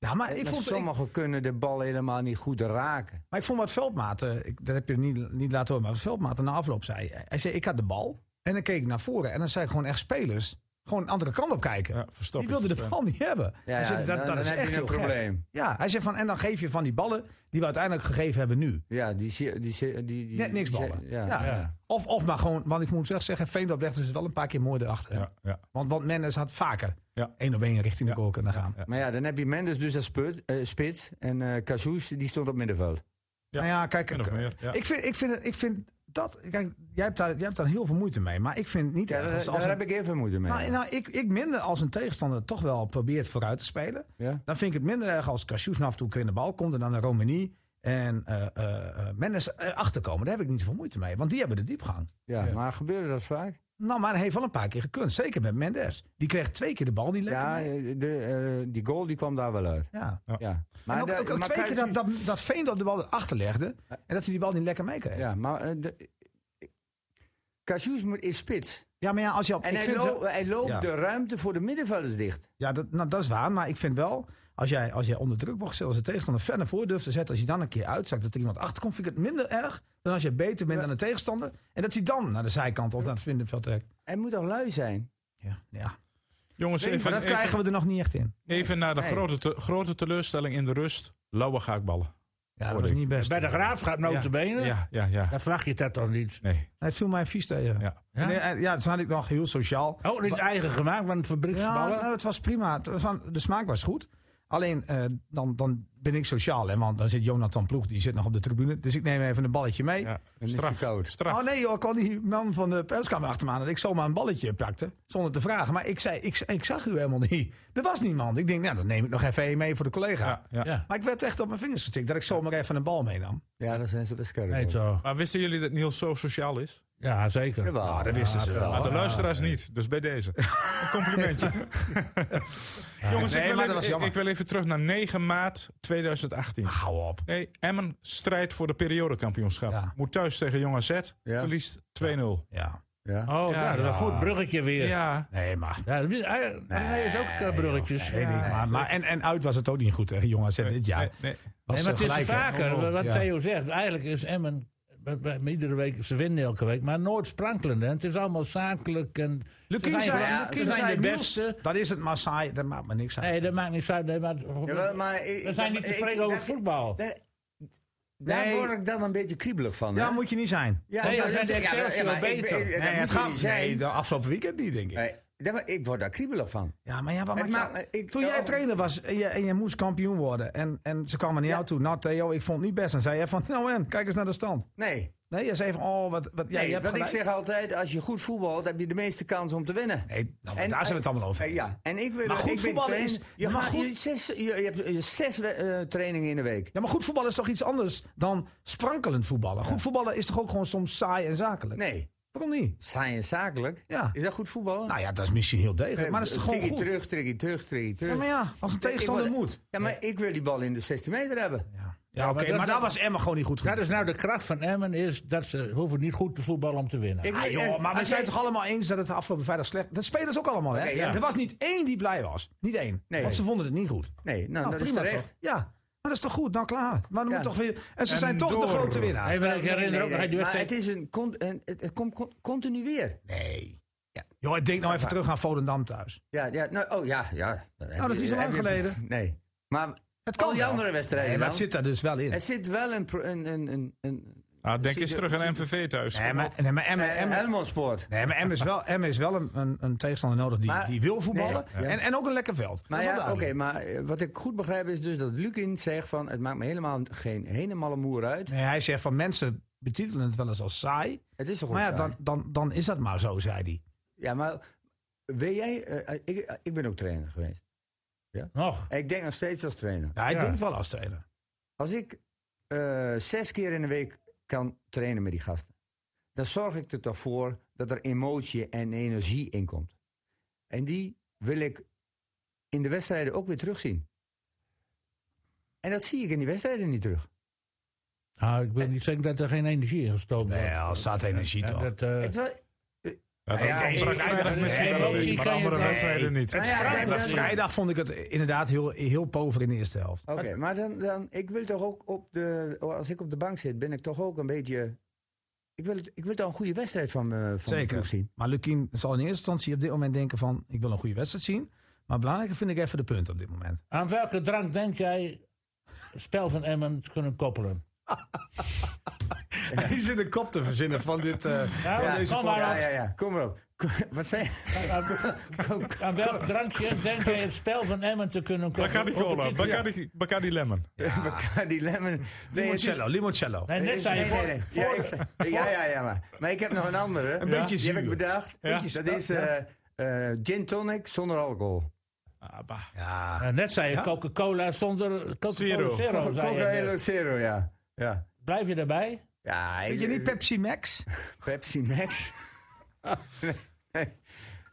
S2: Ja, maar ik
S4: Maar
S2: vond, ik,
S4: sommigen kunnen de bal helemaal niet goed raken.
S2: maar ik vond wat Veldmaten, ik, dat heb je niet, niet laten horen, maar wat Veldmaten na afloop zei. Hij zei, ik had de bal en dan keek ik naar voren. En dan zei ik gewoon echt spelers, gewoon de andere kant op kijken.
S1: Ja, verstop
S2: Die wilden de
S1: het. eh.
S2: bal niet hebben.
S4: Ja,
S2: Hij
S4: ja,
S2: zei, dat,
S4: dan,
S2: dat
S4: dan
S2: is
S4: heb
S2: echt
S4: je een
S2: heel gek.
S4: probleem.
S2: Ja, hij zei van, en dan geef je van die ballen die we uiteindelijk gegeven hebben nu.
S4: Ja, die, zie- die, zie- die, die,
S2: Net niks
S4: die-
S2: ballen.
S4: Ja,
S2: Ja.
S3: ja.
S2: Of, of maar gewoon, want ik moet echt zeggen, Veendorp legde ze wel een paar keer mooi erachter.
S1: Ja, ja.
S2: Want, want Mendes had vaker
S1: Ja.
S2: één op één richting de goal kunnen gaan.
S1: ja.
S4: Maar ja, dan heb je Mendes dus als sput- eh, spits. En eh Cazous, die stond op middenveld.
S1: Ja,
S2: Nou ja, kijk,
S1: min of
S2: ik-
S1: meer, ja.
S2: ik, vind, ik, vind, het- ik vind dat. Kijk, jij hebt, daar, jij hebt daar heel veel moeite mee, maar ik vind het niet
S4: Ja,
S2: erg
S4: daar,
S2: als-
S4: daar
S2: als een-
S4: heb ik even moeite mee.
S2: nou, nou, ik, ik minder als een tegenstander toch wel probeert vooruit te spelen.
S4: ja?
S2: Dan vind ik het minder erg als Cassius af en toe een keer in de bal komt en dan de Romani en eh eh, eh, Mendes erachter komen. Daar heb ik niet zoveel moeite mee, want die hebben de diepgang.
S4: Ja,
S3: Ja.
S4: maar gebeurde dat vaak?
S2: Nou, maar hij heeft wel een paar keer gekund. Zeker met Mendes. Die kreeg twee keer de bal niet lekker.
S4: Ja,
S2: mee.
S4: eh, de, eh, die goal die kwam daar wel uit.
S2: ja.
S4: Ja.
S2: Maar en ook,
S4: de-
S2: ook, ook
S4: maar
S2: twee keer dat,
S4: Cazous-
S2: dat, dat Veendorp de bal erachter legde. En dat hij die bal niet lekker mee kreeg. Ja,
S4: Ja, maar eh, de, Cazous moet- is spits.
S2: maar ja, als je op...
S4: En
S2: ik
S4: hij,
S2: vind wel-
S4: loopt- hij loopt
S2: Ja.
S4: de ruimte voor de middenvelders dicht.
S2: Ja, dat, nou, dat is waar. Maar ik vind wel, als jij, als jij onder druk wordt gezet, als de tegenstander ver naar voren durft te zetten, als je dan een keer uitzakt dat er iemand achter komt, vind ik het minder erg dan als je beter bent dan de tegenstander. En dat hij dan naar de zijkant of naar het vindenveld trekt.
S4: Hij moet al lui zijn.
S2: Ja, ja.
S1: Jongens,
S2: maar
S1: even,
S2: dat
S1: even,
S2: krijgen we er nog niet echt in.
S1: even naar de
S4: Nee.
S1: grote, te- grote teleurstelling in de rust. Lauwe gaakballen.
S2: Ja, dat
S1: Hoorde
S2: was
S1: ik.
S2: niet best.
S3: Bij de graafschap notabene.
S1: Ja, ja, ja.
S3: Dan verwacht je dat toch niet.
S1: Nee.
S2: Hij viel mij vies tegen. Ja,
S1: Ja.
S3: Ja?
S2: en, eh, ja toen had ik nog heel sociaal.
S3: Oh, niet eigen gemaakt, want
S2: Ja,
S3: fabrieksballen.
S2: nou, het was prima. Het was aan- de smaak was goed. Alleen eh, dan, dan ben ik sociaal, hè? Want dan zit Jonathan Ploeg, die zit nog op de tribune. Dus ik neem even een balletje mee.
S1: Ja,
S4: is die
S1: straf.
S4: koud.
S1: straf.
S2: Oh nee joh, kwam die man van de perskamer achter me aan dat ik zomaar een balletje pakte. Zonder te vragen. Maar ik, zei, ik, ik zag u helemaal niet. Er was niemand. Ik denk, nou dan neem ik nog even één mee voor de collega.
S1: Ja, ja.
S3: Ja.
S2: Maar ik werd echt op mijn vingers getikt dat ik zomaar even een bal meenam.
S4: Ja, dan zijn ze best scherp.
S3: Nee,
S4: hoor.
S3: zo.
S1: Maar wisten jullie dat Niels zo sociaal is?
S3: Ja, zeker.
S4: Jawel.
S2: Ah, dat wisten ze wel.
S1: maar de luisteraars niet, dus bij
S2: [LAUGHS]
S1: deze. Een complimentje. [LAUGHS] Jongens,
S2: Nee,
S1: ik, wil
S2: maar dat was
S1: even, ik,
S2: jammer.
S1: ik wil even terug naar 9 maart 2018.
S2: Hou op.
S1: Nee, Emmen strijdt voor de periodekampioenschap.
S2: Ja.
S1: Moet thuis tegen Jong AZ,
S4: Ja.
S1: verliest 2-0.
S2: Ja.
S4: Ja.
S3: Oh,
S1: Ja,
S3: ja, dat was
S2: ja.
S3: een goed bruggetje weer. Ja.
S1: Ja,
S2: Nee, maar...
S3: dat is- hij, hij is ook eh, bruggetjes.
S2: Weet ik, maar, maar, en, en uit was het ook niet goed, hè, jong AZ dit jaar.
S1: Nee, nee.
S2: Was
S3: nee, maar
S2: eh,
S3: het is
S2: gelijk, hè.
S3: vaker,
S2: Oh, oh,
S3: wat
S2: ja.
S3: Theo zegt. Eigenlijk is Emmen, bij- bij- iedere week, ze winnen elke week, maar nooit sprankelend. hè. Het is allemaal zakelijk. En, ze
S2: Lukien
S3: zijn
S2: zei,
S3: gewoon-
S2: Lukien
S3: ze zijn
S2: zei,
S3: de
S2: Niels,
S3: beste.
S2: dat is het, maar saai, dat maakt me niks uit.
S3: Nee, dat maakt niet uit. Nee, maar,
S4: Jawel, maar ik-
S3: we zijn niet te
S4: ik-
S3: spreken over
S4: dat-
S3: voetbal.
S4: Daar, daar
S2: Nee.
S4: word ik dan een beetje kriebelig van.
S2: ja,
S4: hè?
S2: moet je niet zijn.
S4: Ja,
S3: Nee,
S4: dat-
S3: dan zijn de
S4: ja, maar-
S3: Excelsior
S4: maar ik-
S3: beter.
S4: ik- dat
S2: nee,
S4: moet
S2: het
S4: je
S2: gaat,
S4: niet zijn.
S2: nee, de afgelopen weekend niet, denk ik.
S4: Nee, ja, maar ik word daar kriebelig van.
S2: Ja, maar ja, wat
S4: Het
S2: maakt-
S4: maakt- ik-
S2: Toen
S4: ja,
S2: jij
S4: oh.
S2: trainer was en je, en je moest kampioen worden en, en ze kwamen naar jou toe. Nou Theo, ik vond het niet best. En zei jij van, nou en, kijk eens naar de stand.
S4: Nee,
S2: Nee, je zei van, oh, wat... wat ja,
S4: nee
S2: je hebt
S4: want ik
S2: gelijk.
S4: zeg altijd, als je goed voetbalt, heb je de meeste kans om te winnen.
S2: Nee, nou, maar daar zijn we het allemaal over.
S4: Eh, Ja, en ik wil...
S2: Maar goed
S4: ik ben
S2: voetballen
S4: trainer.
S2: is-
S4: Je,
S2: maar
S4: gaat-
S2: goed-
S4: je, zes, je, je hebt eh, zes we- eh, trainingen in de week.
S2: Ja, maar goed voetballen is toch iets anders dan sprankelend voetballen? Goed voetballen is toch ook gewoon soms saai en zakelijk?
S4: Nee,
S2: Waarom niet?
S4: saai en zakelijk.
S2: Ja.
S4: Is dat goed voetballen?
S2: Nou ja, dat is misschien heel degelijk, maar dat is toch gewoon
S4: Tikkie
S2: goed?
S4: terug, tikkie terug, tikkie terug.
S2: Ja, maar ja, als een
S4: Ik- ik
S2: tegenstander
S4: wil-
S2: moet.
S4: Ja, maar ik wil die bal in de 16 meter hebben.
S2: Ja,
S3: Ja,
S2: oké,
S3: maar dat-
S2: maar daar
S3: dat-
S2: was Emma gewoon niet goed genoeg.
S4: dus
S3: Dat is nou de kracht van Emmen, is dat ze hoeven niet goed te voetballen om te winnen.
S4: Ik-
S2: Ah, joh, maar we
S4: Als
S2: zijn
S4: jij-
S2: toch allemaal eens dat het de afgelopen vrijdag slecht... Dat spelers ook allemaal, hè?
S4: Oké, ja.
S2: Er was niet één die blij was. Niet één.
S4: Nee.
S2: Want ze vonden het niet goed.
S4: Nee, nou,
S2: Nou,
S4: dat is terecht.
S2: toch? Ja, maar dat is toch goed? Nou, klaar. Maar dan
S4: Ja.
S2: moet toch weer... En ze
S1: En
S2: zijn toch de
S1: door.
S2: grote winnaar.
S3: Hey, maar ik
S4: Nee,
S3: herinner
S4: nee,
S3: ook nog
S4: nee,
S3: uit die
S4: maar
S3: wedstrijd.
S4: het is een, con- een het, het komt con- continu weer.
S2: Nee. Ja. Joh, ik denk nou even terug aan Volendam thuis.
S4: Ja, ja, nou, oh ja, ja. Dan heb
S2: dat is
S4: je-
S2: niet zo
S4: heb
S2: lang
S4: je-
S2: geleden.
S4: Nee, maar
S2: Het
S4: al die
S2: wel.
S4: andere wedstrijden
S2: Nee, maar
S4: dan.
S2: het zit daar dus wel in.
S4: er zit wel een... pro- een, een, een, een
S1: Ah, denk
S4: Zie
S1: eens
S4: je-
S1: terug aan
S4: zie je-
S1: MVV thuis.
S2: Nee, maar, nee, maar Emma,
S4: eh,
S2: Emma-
S4: Helmond Sport.
S2: nee, maar Emma is wel, Emma is wel een, een, een tegenstander nodig die,
S4: Maar-
S2: die wil voetballen.
S4: Nee, ja.
S2: En, en ook een lekker veld.
S4: Maar
S2: Dat is
S4: ja,
S2: wel
S4: oké,
S2: duidelijk.
S4: maar eh, wat ik goed begrijp is dus dat Lukin zegt van... het maakt me helemaal geen ene malle moer uit.
S2: Nee, hij zegt van mensen betitelen het wel eens als saai.
S4: Het is toch
S2: maar ja,
S4: saai?
S2: dan, dan, dan is dat maar zo, zei hij.
S4: Ja, maar weet jij... eh, ik, ik ben ook trainer geweest.
S3: Nog.
S4: Ik denk nog steeds als trainer.
S2: Ja, hij
S3: Ja.
S2: doet het wel als trainer.
S4: Als ik eh, zes keer in de week kan trainen met die gasten, dan zorg ik er toch voor dat er emotie en energie in komt. En die wil ik in de wedstrijden ook weer terugzien. En dat zie ik in die wedstrijden niet terug.
S3: Nou, ik wil niet zeggen dat er geen energie in gestoken wordt.
S2: Nee, als staat energie
S3: Ja,
S2: toch.
S3: dat, eh,
S4: Het wa-
S1: Ja, dat
S2: Ja,
S1: ontbrak
S2: ik- ik-
S1: vrijdag
S2: ik-
S1: misschien
S3: nee,
S1: wel,
S3: nee,
S1: maar
S3: kan je-
S1: andere
S3: nee.
S1: wedstrijden niet.
S4: Nou ja,
S2: Vrijdag,
S4: dan- dan-
S2: vrijdag vond ik het inderdaad heel, heel pover in de eerste helft.
S4: Oké, maar dan, dan, ik wil toch ook op de, als ik op de bank zit, ben ik toch ook een beetje, ik wil, het- ik wil toch een goede wedstrijd van, me- van mijn
S2: Zeker.
S4: ploeg zien.
S2: Maar Lukien zal in eerste instantie op dit moment denken van... ik wil een goede wedstrijd zien. Maar belangrijker vind ik even de punten op dit moment.
S3: Aan welke drank denk jij het spel van Emmen te kunnen koppelen?
S2: [LAUGHS] Hij zit de kop te verzinnen van, dit, eh,
S3: Ja, van ja, deze kom maar podcast.
S4: Ja, ja, ja, kom maar op. [LAUGHS] Kom- Wat zei
S3: Aan, aan welk drankje denk jij het spel van Emmen te kunnen koppelen?
S1: Bacardi Cola,
S3: Competitie.
S1: Bacardi, Bacardi Lemon.
S4: [LAUGHS] Bacardi Lemon. Nee, het is-
S2: Limoncello, limoncello.
S3: Nee, net zei je voor-
S4: Ja, ik zei- ja, ja, ja, maar, maar ik heb nog een andere. Een
S2: beetje
S4: Die heb ik
S2: zuur.
S4: bedacht. Dat is eh, eh, gin tonic zonder
S3: Oh,
S4: alcohol.
S1: Ah, bah.
S2: Ja.
S3: Eh, net zei je Coca-Cola zonder Coca-Cola
S1: Zero.
S3: Zero. zei je
S4: Coca
S3: net.
S4: Cola Zero, ja. Ja,
S3: Blijf je daarbij?
S4: ja
S2: Vind
S4: ik-
S2: je niet Pepsi Max?
S4: Pepsi Max? [LAUGHS] nee. nee,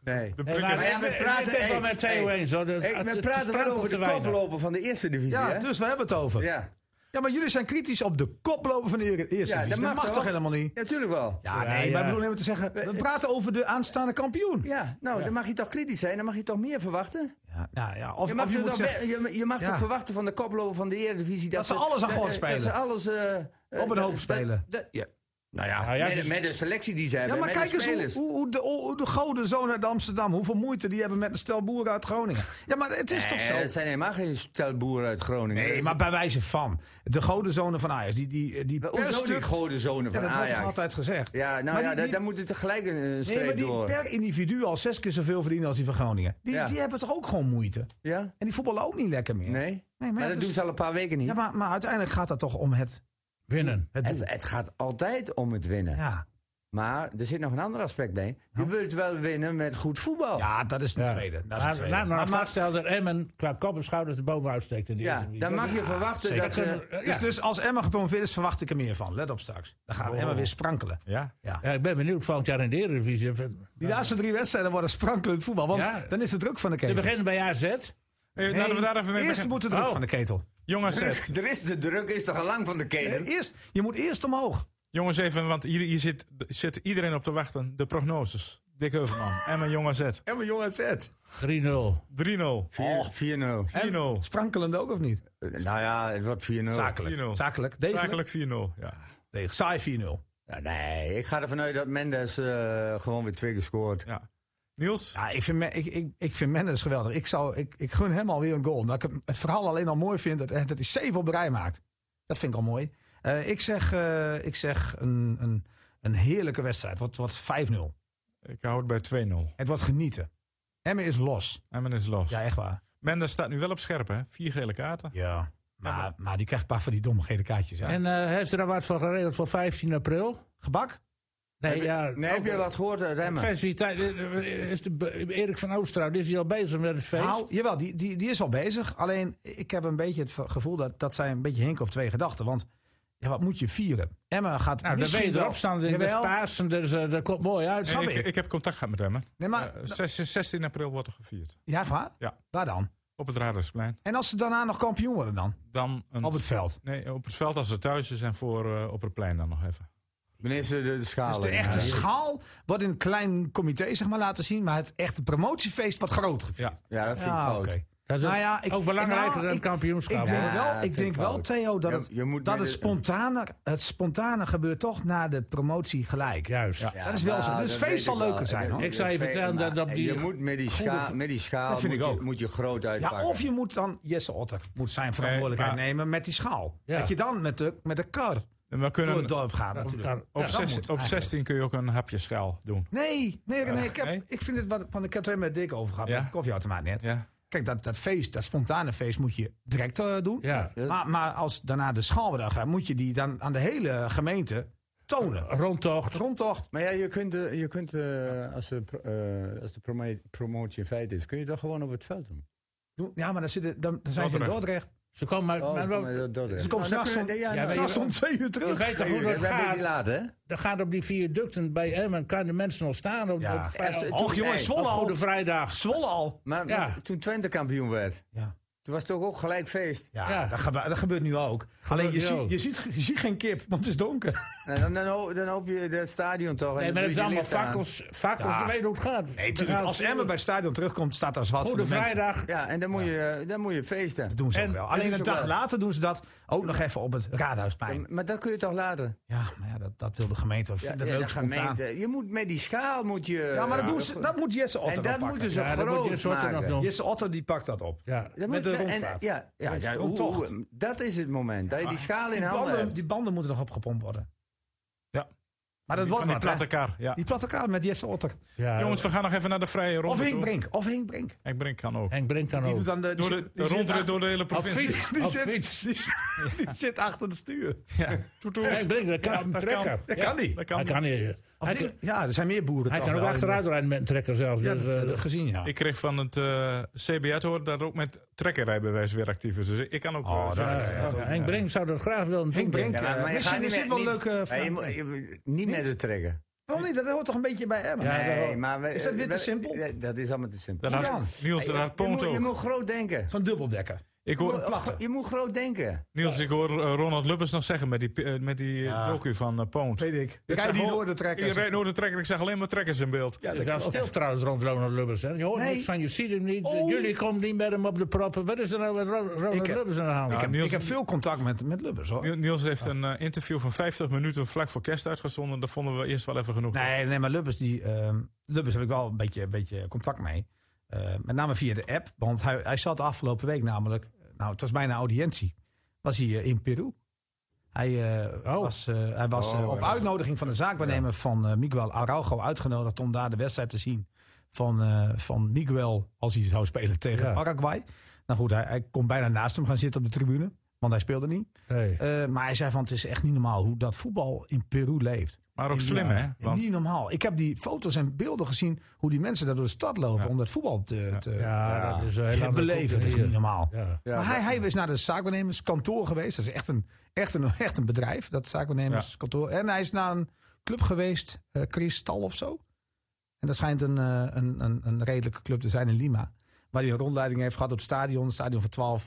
S4: nee.
S1: De
S3: Nee, maar
S1: prikkers.
S4: ja, we
S3: ik- ik-
S4: praten-
S3: ik ben wel
S4: hey,
S3: met Theo
S4: hey,
S3: eens. hoor. Dat-
S4: Hey,
S3: het-
S4: we
S3: het
S4: praten wel
S3: sprankelt
S4: over
S3: te
S4: de
S3: weinig.
S4: koploper van de eerste divisie,
S2: Ja,
S4: hè?
S2: dus we hebben het over. Ja.
S4: Ja.
S2: maar jullie zijn kritisch op de koploper van de eer- eerste divisie. Dat mag, toch helemaal niet?
S4: Natuurlijk wel.
S2: Ja, nee,
S3: Ja,
S2: maar
S3: ja.
S2: ik bedoel helemaal te zeggen... we praten over de aanstaande kampioen.
S4: Ja, nou, dan mag je toch kritisch zijn. Dan mag je toch meer verwachten.
S2: Ja, nou ja, of,
S4: Je mag,
S2: of je
S4: toch,
S2: moet
S4: wel-
S2: zeggen...
S4: je, je mag
S2: Ja.
S4: toch verwachten van de koploper van de Eredivisie...
S2: Dat ze alles aan
S4: dat-
S2: God
S4: dat-
S2: spelen.
S4: Dat ze alles... eh, eh,
S2: Op een hoop
S4: dat-
S2: spelen. dus-
S4: dat- ja. Nou ja,
S3: Ajax
S4: met,
S3: is-
S4: met de selectie die ze hebben.
S2: Ja, maar
S4: met de
S2: kijk eens hoe,
S4: spelers.
S2: hoe, hoe de, hoe de gouden zoon uit Amsterdam... hoeveel moeite die hebben met een stel boeren uit Groningen. Ja, maar het is toch
S4: Eh,
S2: zo?
S4: Het zijn helemaal geen stelboeren uit Groningen.
S2: Nee, maar bij wijze van. De gouden zonen van Ajax, die, die, die per
S4: Hoezo die
S2: stuk...
S4: goden zonen
S2: Ja,
S4: van
S2: dat wordt
S4: Ajax?
S2: altijd gezegd.
S4: Ja, nou
S2: Maar
S4: ja,
S2: die-
S4: da-
S2: die-
S4: daar moet het tegelijk een, een streep
S2: Nee, maar die
S4: door.
S2: per individu al zes keer zoveel verdienen als die van Groningen. Die,
S4: Ja.
S2: die hebben toch ook gewoon moeite.
S4: Ja?
S2: En die voetballen ook niet lekker meer.
S4: Nee?
S2: maar
S4: maar
S2: ja,
S4: dat
S2: dus-
S4: doen ze al een paar weken niet.
S2: Ja, maar, maar uiteindelijk gaat dat toch om het,
S3: Winnen.
S2: het doel.
S4: het, het gaat altijd om het winnen.
S2: Ja.
S4: Maar er zit nog een ander aspect bij. Je wilt wel winnen met goed voetbal.
S2: ja, dat is de
S3: Ja.
S2: tweede. Dat is de
S3: Laat-
S2: tweede.
S3: Laat maar
S2: Maar- maar-
S3: vaststellen dat Emmen qua kop en schouders de boven uitsteekt in de
S4: Ja,
S3: eerste divisie.
S4: dan mag je
S3: Ja,
S4: verwachten
S2: zeker.
S4: dat eh, ze...
S3: kunnen-
S2: dus,
S3: ja.
S2: dus als Emma gepromoveerd is, verwacht ik er meer van. Let op straks. Dan gaan we Emma weer sprankelen.
S1: Ja? Eh,
S3: Ja, ik ben benieuwd volgend jaar in de Eredivisie. of-
S2: Die laatste drie wedstrijden worden sprankelend voetbal. Want
S3: Ja.
S2: dan is de druk van de
S3: Te
S2: ketel.
S3: beginnen bij AZ.
S1: Hey,
S2: Nee,
S1: laten we daar even mee
S2: eerst
S1: beginnen.
S2: moet de druk
S3: Oh.
S2: van de ketel.
S1: Jong AZ.
S4: [LAUGHS] Er is, de druk is toch al lang van de keten?
S2: Eerst, je moet eerst omhoog.
S1: Jongens, even, want hier, hier zit, zit iedereen op te wachten. De prognoses. Dick Heuvelman. en mijn Jong AZ. 3-0.
S2: Emma Jong AZ.
S3: 3-0.
S2: Oh.
S4: 4 0
S1: 4-0.
S2: Sprankelend ook of niet?
S4: Nou ja, het wordt 4-0.
S2: Zakelijk.
S1: 4-0.
S2: Zakelijk. Degelijk.
S1: Zakelijk 4-0. Ja.
S2: Degelijk. Saai 4-0.
S4: Ja, nee, ik ga ervan uit dat Mendes eh, gewoon weer twee keer scoort.
S1: ja. Niels?
S2: Ja, ik vind, Me- ik, ik, ik vind Mendes geweldig. Ik, zou, ik, ik gun hem alweer een goal. Omdat ik het- het verhaal alleen al mooi vind dat, eh, dat hij 7 op de rij maakt. Dat vind ik al mooi. Eh, ik zeg, eh, ik zeg een, een, een heerlijke wedstrijd. Het wordt, wordt 5-0.
S1: Ik hou het bij 2-0.
S2: Het wordt genieten. Emmen is los.
S1: Emmen is los.
S2: Ja, echt waar.
S1: Mendes staat nu wel op scherp, hè? Vier gele kaarten.
S2: Ja. Maar, maar die krijgt een paar van die domme gele kaartjes. Ja.
S3: En eh heeft ze daar wat voor geregeld voor 15 april?
S2: gebak?
S3: Nee,
S2: Eh,
S3: ja.
S4: Nee, heb je wat gehoord uit Emmen?
S3: Festiviteit. eh, Is de, Erik van Oosterhout is hij al bezig met het feest?
S2: Nou, jawel, die, die, die is al bezig. Alleen ik heb een beetje het gevoel dat, dat zij een beetje hinken op twee gedachten. Want ja, wat moet je vieren? Emma gaat
S3: nou, dan ben je
S2: misschien wel-
S3: erop staan in de
S2: Jawel.
S3: Spaarsen. Dus, eh, dat komt mooi uit.
S1: En ik, ik heb contact gehad met Emmen.
S2: Nee, maar,
S1: Eh, 16, 16 april wordt er gevierd.
S2: Ja, echt waar?
S1: Ja.
S2: Waar dan?
S1: Op het Radersplein.
S2: En als ze daarna nog kampioen worden dan?
S1: Dan een
S2: Op het veld.
S1: Nee, op het veld als ze thuis is en voor eh, op het plein dan nog even.
S4: Meneer ze de, de schaal.
S2: Dus de
S4: in. eh,
S2: echte
S4: Ja.
S2: schaal wordt in een klein comité zeg maar laten zien. Maar het echte promotiefeest wordt groot gevierd.
S1: Ja.
S4: Ja, dat vind ik
S2: Ah,
S4: fout.
S2: oké.
S3: dat is
S2: nou ja, ik-
S3: ook belangrijker
S2: nou,
S3: dan
S2: ik-
S3: kampioenschap.
S2: Ik denk
S4: Ja,
S2: wel,
S4: dat
S2: ik
S4: vind
S2: denk
S4: ik
S2: wel
S4: fout.
S2: Theo, dat,
S4: Je-
S2: het,
S4: je moet
S2: dat
S4: met
S2: het,
S4: de-
S2: spontane, het spontane gebeurt toch na de promotie gelijk.
S3: Juist.
S2: Ja, dat is wel zo.
S4: nou,
S2: Dus
S4: dat
S2: feest
S4: weet
S2: zal
S4: ik wel.
S2: leuker zijn. Hoor.
S3: Ik zou je
S4: Fe-
S3: vertellen dat- dat
S4: maar
S3: die-
S4: Je moet met die
S2: Goede
S4: schaal,
S2: ver-
S4: met die schaal
S2: Dat vind
S4: moet,
S2: ik
S4: je,
S2: ook.
S4: moet je groot uitpakken.
S2: Ja, of je moet dan, Jesse Otter moet zijn verantwoordelijkheid
S1: maar-
S2: nemen met die schaal.
S3: Ja.
S2: Dat je dan met de, met de kar
S1: En we
S2: door het
S1: kunnen,
S2: dorp gaat natuurlijk.
S3: Ja,
S1: op,
S3: dat
S1: zes-
S2: moet
S1: op
S2: eigenlijk.
S1: 16 kun je ook een hapje schaal doen.
S2: Nee, nee, nee, ik, heb,
S1: nee?
S2: ik vind het wat, want ik heb het er met Dick over gehad,
S1: Ja.
S2: met de koffieautomaat net.
S1: Ja.
S2: Kijk, dat, dat feest, dat spontane feest moet je direct eh, doen.
S3: Ja.
S2: Maar, maar als daarna de schaalbedag gaat, moet je die dan aan de hele gemeente tonen.
S3: Rondtocht.
S2: Grondtocht.
S4: Maar ja, je kunt, eh, je kunt eh, als, de, pro- eh, als de promo- promotie in feite is, kun je dat gewoon op het veld doen.
S2: doen. Ja, maar dan, zitten, dan, dan zijn ze in
S1: Dordrecht.
S2: Dordrecht.
S3: Ze komen uit.
S4: Oh,
S3: maar wel-
S4: maar dat- dat is.
S2: Ze komen
S4: Nou, dan
S2: s'nachts
S4: kun
S2: om,
S4: je- ja,
S3: Ja,
S4: nou,
S3: maar
S2: s'nachts om twee uur
S3: je
S2: terug.
S3: weet toch hoe
S4: twee uur,
S3: dat
S4: dat ben je
S3: gaat?
S4: niet laat, hè?
S3: Dan gaat op die viaducten bij Emmen. Kan de mensen nog staan op,
S2: Ja.
S3: op,
S4: Echt,
S3: op-
S4: toen-
S2: Och jongen,
S4: nee,
S2: Zwolle
S3: op
S2: al.
S3: Goede Vrijdag.
S2: Zwolle al.
S4: Maar
S3: Ja.
S4: maar toen Twente kampioen werd,
S2: Ja.
S4: toen was het ook, ook gelijk feest.
S2: Ja,
S3: Ja.
S2: Dat, gebe- dat gebeurt nu ook. Alleen je,
S3: nu
S2: ziet,
S3: ook.
S2: je, ziet, ge- je ziet geen kip, want het is donker.
S4: Nou, dan, dan, ho- dan hoop je dat stadion toch. en
S3: Nee,
S4: dan
S3: maar het
S4: doe je
S3: is
S4: die
S3: allemaal
S4: lichten aan.
S3: fakkels. Fakkels,
S2: Ja.
S3: je weet hoe het
S2: [LAUGHS]
S3: gaat.
S2: Nee,
S3: We
S2: tuurlijk.
S3: gaan
S2: Als
S3: spelen.
S2: Emmen bij het stadion terugkomt, staat daar zwart voor de
S3: Goede
S2: mensen.
S3: Vrijdag.
S4: Ja, en dan moet, je, dan moet je feesten.
S2: Dat doen ze
S3: En-
S2: ook wel.
S3: en
S2: Alleen
S4: dat
S2: een
S4: is ook
S2: dag
S4: wel-
S2: later doen ze dat ook nog even op het Raadhuisplein.
S4: Maar dat kun je toch later?
S2: Ja, maar ja, dat, dat wil de gemeente. Ja, dat
S4: ja,
S2: wil
S4: de
S2: ook spontaan.
S4: gemeente. Je moet met die schaal moet je.
S2: Ja, maar dat, doen ze, dat moet Jesse Otter
S4: en dat dus
S2: oppakken.
S4: moeten ze
S3: Ja, dat moet
S4: groot
S3: je soort er nog
S4: maken.
S3: doen.
S2: Jesse Otter die pakt dat op.
S3: Ja.
S4: Dat
S2: Met
S4: moet-
S2: de
S4: en-
S2: rondvaart.
S4: Ja, ja, ja, hoe-
S2: Rondtocht.
S4: hoe- dat is het moment. Dat je die schaal in
S2: Ah, Die
S4: handen
S2: banden,
S4: hebt.
S2: die banden moeten nog opgepompt worden.
S1: Ja.
S2: Maar dat
S1: Die
S2: wordt
S1: van die
S2: wat,
S1: platte
S2: hè?
S1: kar. Ja.
S2: Die platte kaart met Jesse Otter.
S3: Ja,
S1: Jongens, we gaan nog even naar de vrije ronde
S2: Of Henk
S1: toe.
S2: Brink. Of Henk Brink.
S1: Henk Brink kan ook.
S3: Henk Brink kan
S2: Die
S3: ook.
S2: doet dan de...
S1: Door de, de rondrit door de hele
S3: Op
S1: provincie.
S3: fiets.
S2: Die
S3: op
S2: zit-
S3: fiets.
S2: Die zit achter de stuur.
S1: Ja. Toet, toet.
S3: Henk Brink, dat kan op een
S1: dat
S3: trekker.
S1: kan.
S2: Dat
S3: Ja.
S2: kan niet.
S1: Dat
S3: Hij
S1: kan
S3: kan niet.
S2: Of
S3: Hij,
S2: die-
S3: kan-
S2: ja, er zijn meer boeren
S3: hij
S2: toch
S3: kan ook
S2: wel.
S3: achteruit rijden met een trekker zelfs.
S2: Ja,
S3: dus,
S2: dat
S3: eh,
S2: heb ik gezien, ja.
S1: Ik kreeg van het eh CBA te horen dat ook met trekkerrijbewijs weer actief is. Dus ik kan ook...
S2: Oh,
S1: eh,
S2: dat-
S1: zeggen.
S3: ja, ja. Henk Brink zou dat graag willen doen.
S2: Henk Brink.
S4: Ja, maar-
S2: eh,
S4: maar je
S2: misschien
S4: gaat
S2: er
S4: niet
S2: zit wel een
S4: met-
S2: leuke...
S4: maar je
S2: vraag.
S4: moet- je moet- Niet met het trekken.
S2: Waarom niet? Oh, Dat hoort toch een beetje bij Emma?
S3: Ja, dat
S4: Nee,
S3: wel.
S4: maar we-
S2: Is dat weer te
S4: we-
S2: simpel?
S4: Ja, Dat is allemaal te simpel.
S1: dat
S2: Hoe
S1: had-
S2: dan?
S1: Niels,
S4: Je-
S1: dat had
S4: je,
S1: Poont
S4: moet, je
S1: ook.
S4: moet groot denken.
S2: Zo'n dubbeldekker.
S1: Ik
S4: Je
S1: hoor,
S4: moet- Je moet groot denken.
S1: Niels, ik hoor eh, Ronald Lubbers nog zeggen met die, eh, met die eh, docu van uh, Poont.
S2: Weet ik.
S1: Ik
S2: Ik
S1: zag
S2: die
S1: al- Je
S2: noordertrekkers.
S1: rijdt nooit een trekker, ik zag alleen maar trekkers in beeld.
S2: Ja,
S3: Het is
S2: dat
S3: wel
S2: klopt. Oh.
S3: stil trouwens rond Ronald Lubbers. Hè. Je hoort
S4: Nee.
S3: niks van, je ziet hem niet. Jullie komen niet met hem op de proppen. Wat is er nou met Ro- Ronald
S2: Ik heb-
S3: Lubbers aan de hand?
S1: Ja, Niels,
S2: Ik heb veel contact met, met Lubbers hoor.
S1: Niel- Niels heeft een eh, interview van 50 minuten vlak voor kerst uitgezonden. Dat vonden we eerst wel even genoeg.
S2: Nee, nee, maar Lubbers, die, ehm, Lubbers heb ik wel een beetje, een beetje contact mee. Eh, met name via de app. Want hij, hij zat de afgelopen week namelijk... Nou, het was bijna audiëntie. Was hij eh, in Peru. Hij eh,
S3: Oh.
S2: was, eh, hij was eh, op uitnodiging van de zaakwaarnemer van eh, Miguel Araujo uitgenodigd... om daar de wedstrijd te zien van, eh, van Miguel als hij zou spelen tegen
S3: Ja.
S2: Paraguay. Nou goed, hij, hij kon bijna naast hem gaan zitten op de tribune. Want hij speelde niet.
S3: Nee.
S2: Eh, maar hij zei van het is echt niet normaal hoe dat voetbal in Peru leeft.
S1: Maar ook slim,
S2: Ja,
S1: hè? Want
S2: Niet normaal. Ik heb die foto's en beelden gezien hoe die mensen daar door de stad lopen om dat voetbal te, te
S3: Ja, dat is een heel
S2: te
S3: andere
S2: beleven. Dat is
S3: cultuur.
S2: niet normaal.
S3: Ja.
S4: Ja,
S2: maar hij, hij is naar de zaakwaarnemerskantoor geweest. Dat is echt een, echt een, [LAUGHS] echt een bedrijf, dat zaakwaarnemerskantoor. En hij is naar een club geweest, eh Kristal of zo. En dat schijnt een, eh, een, een, een redelijke club te zijn in Lima. Waar hij een rondleiding heeft gehad op het stadion. Een stadion van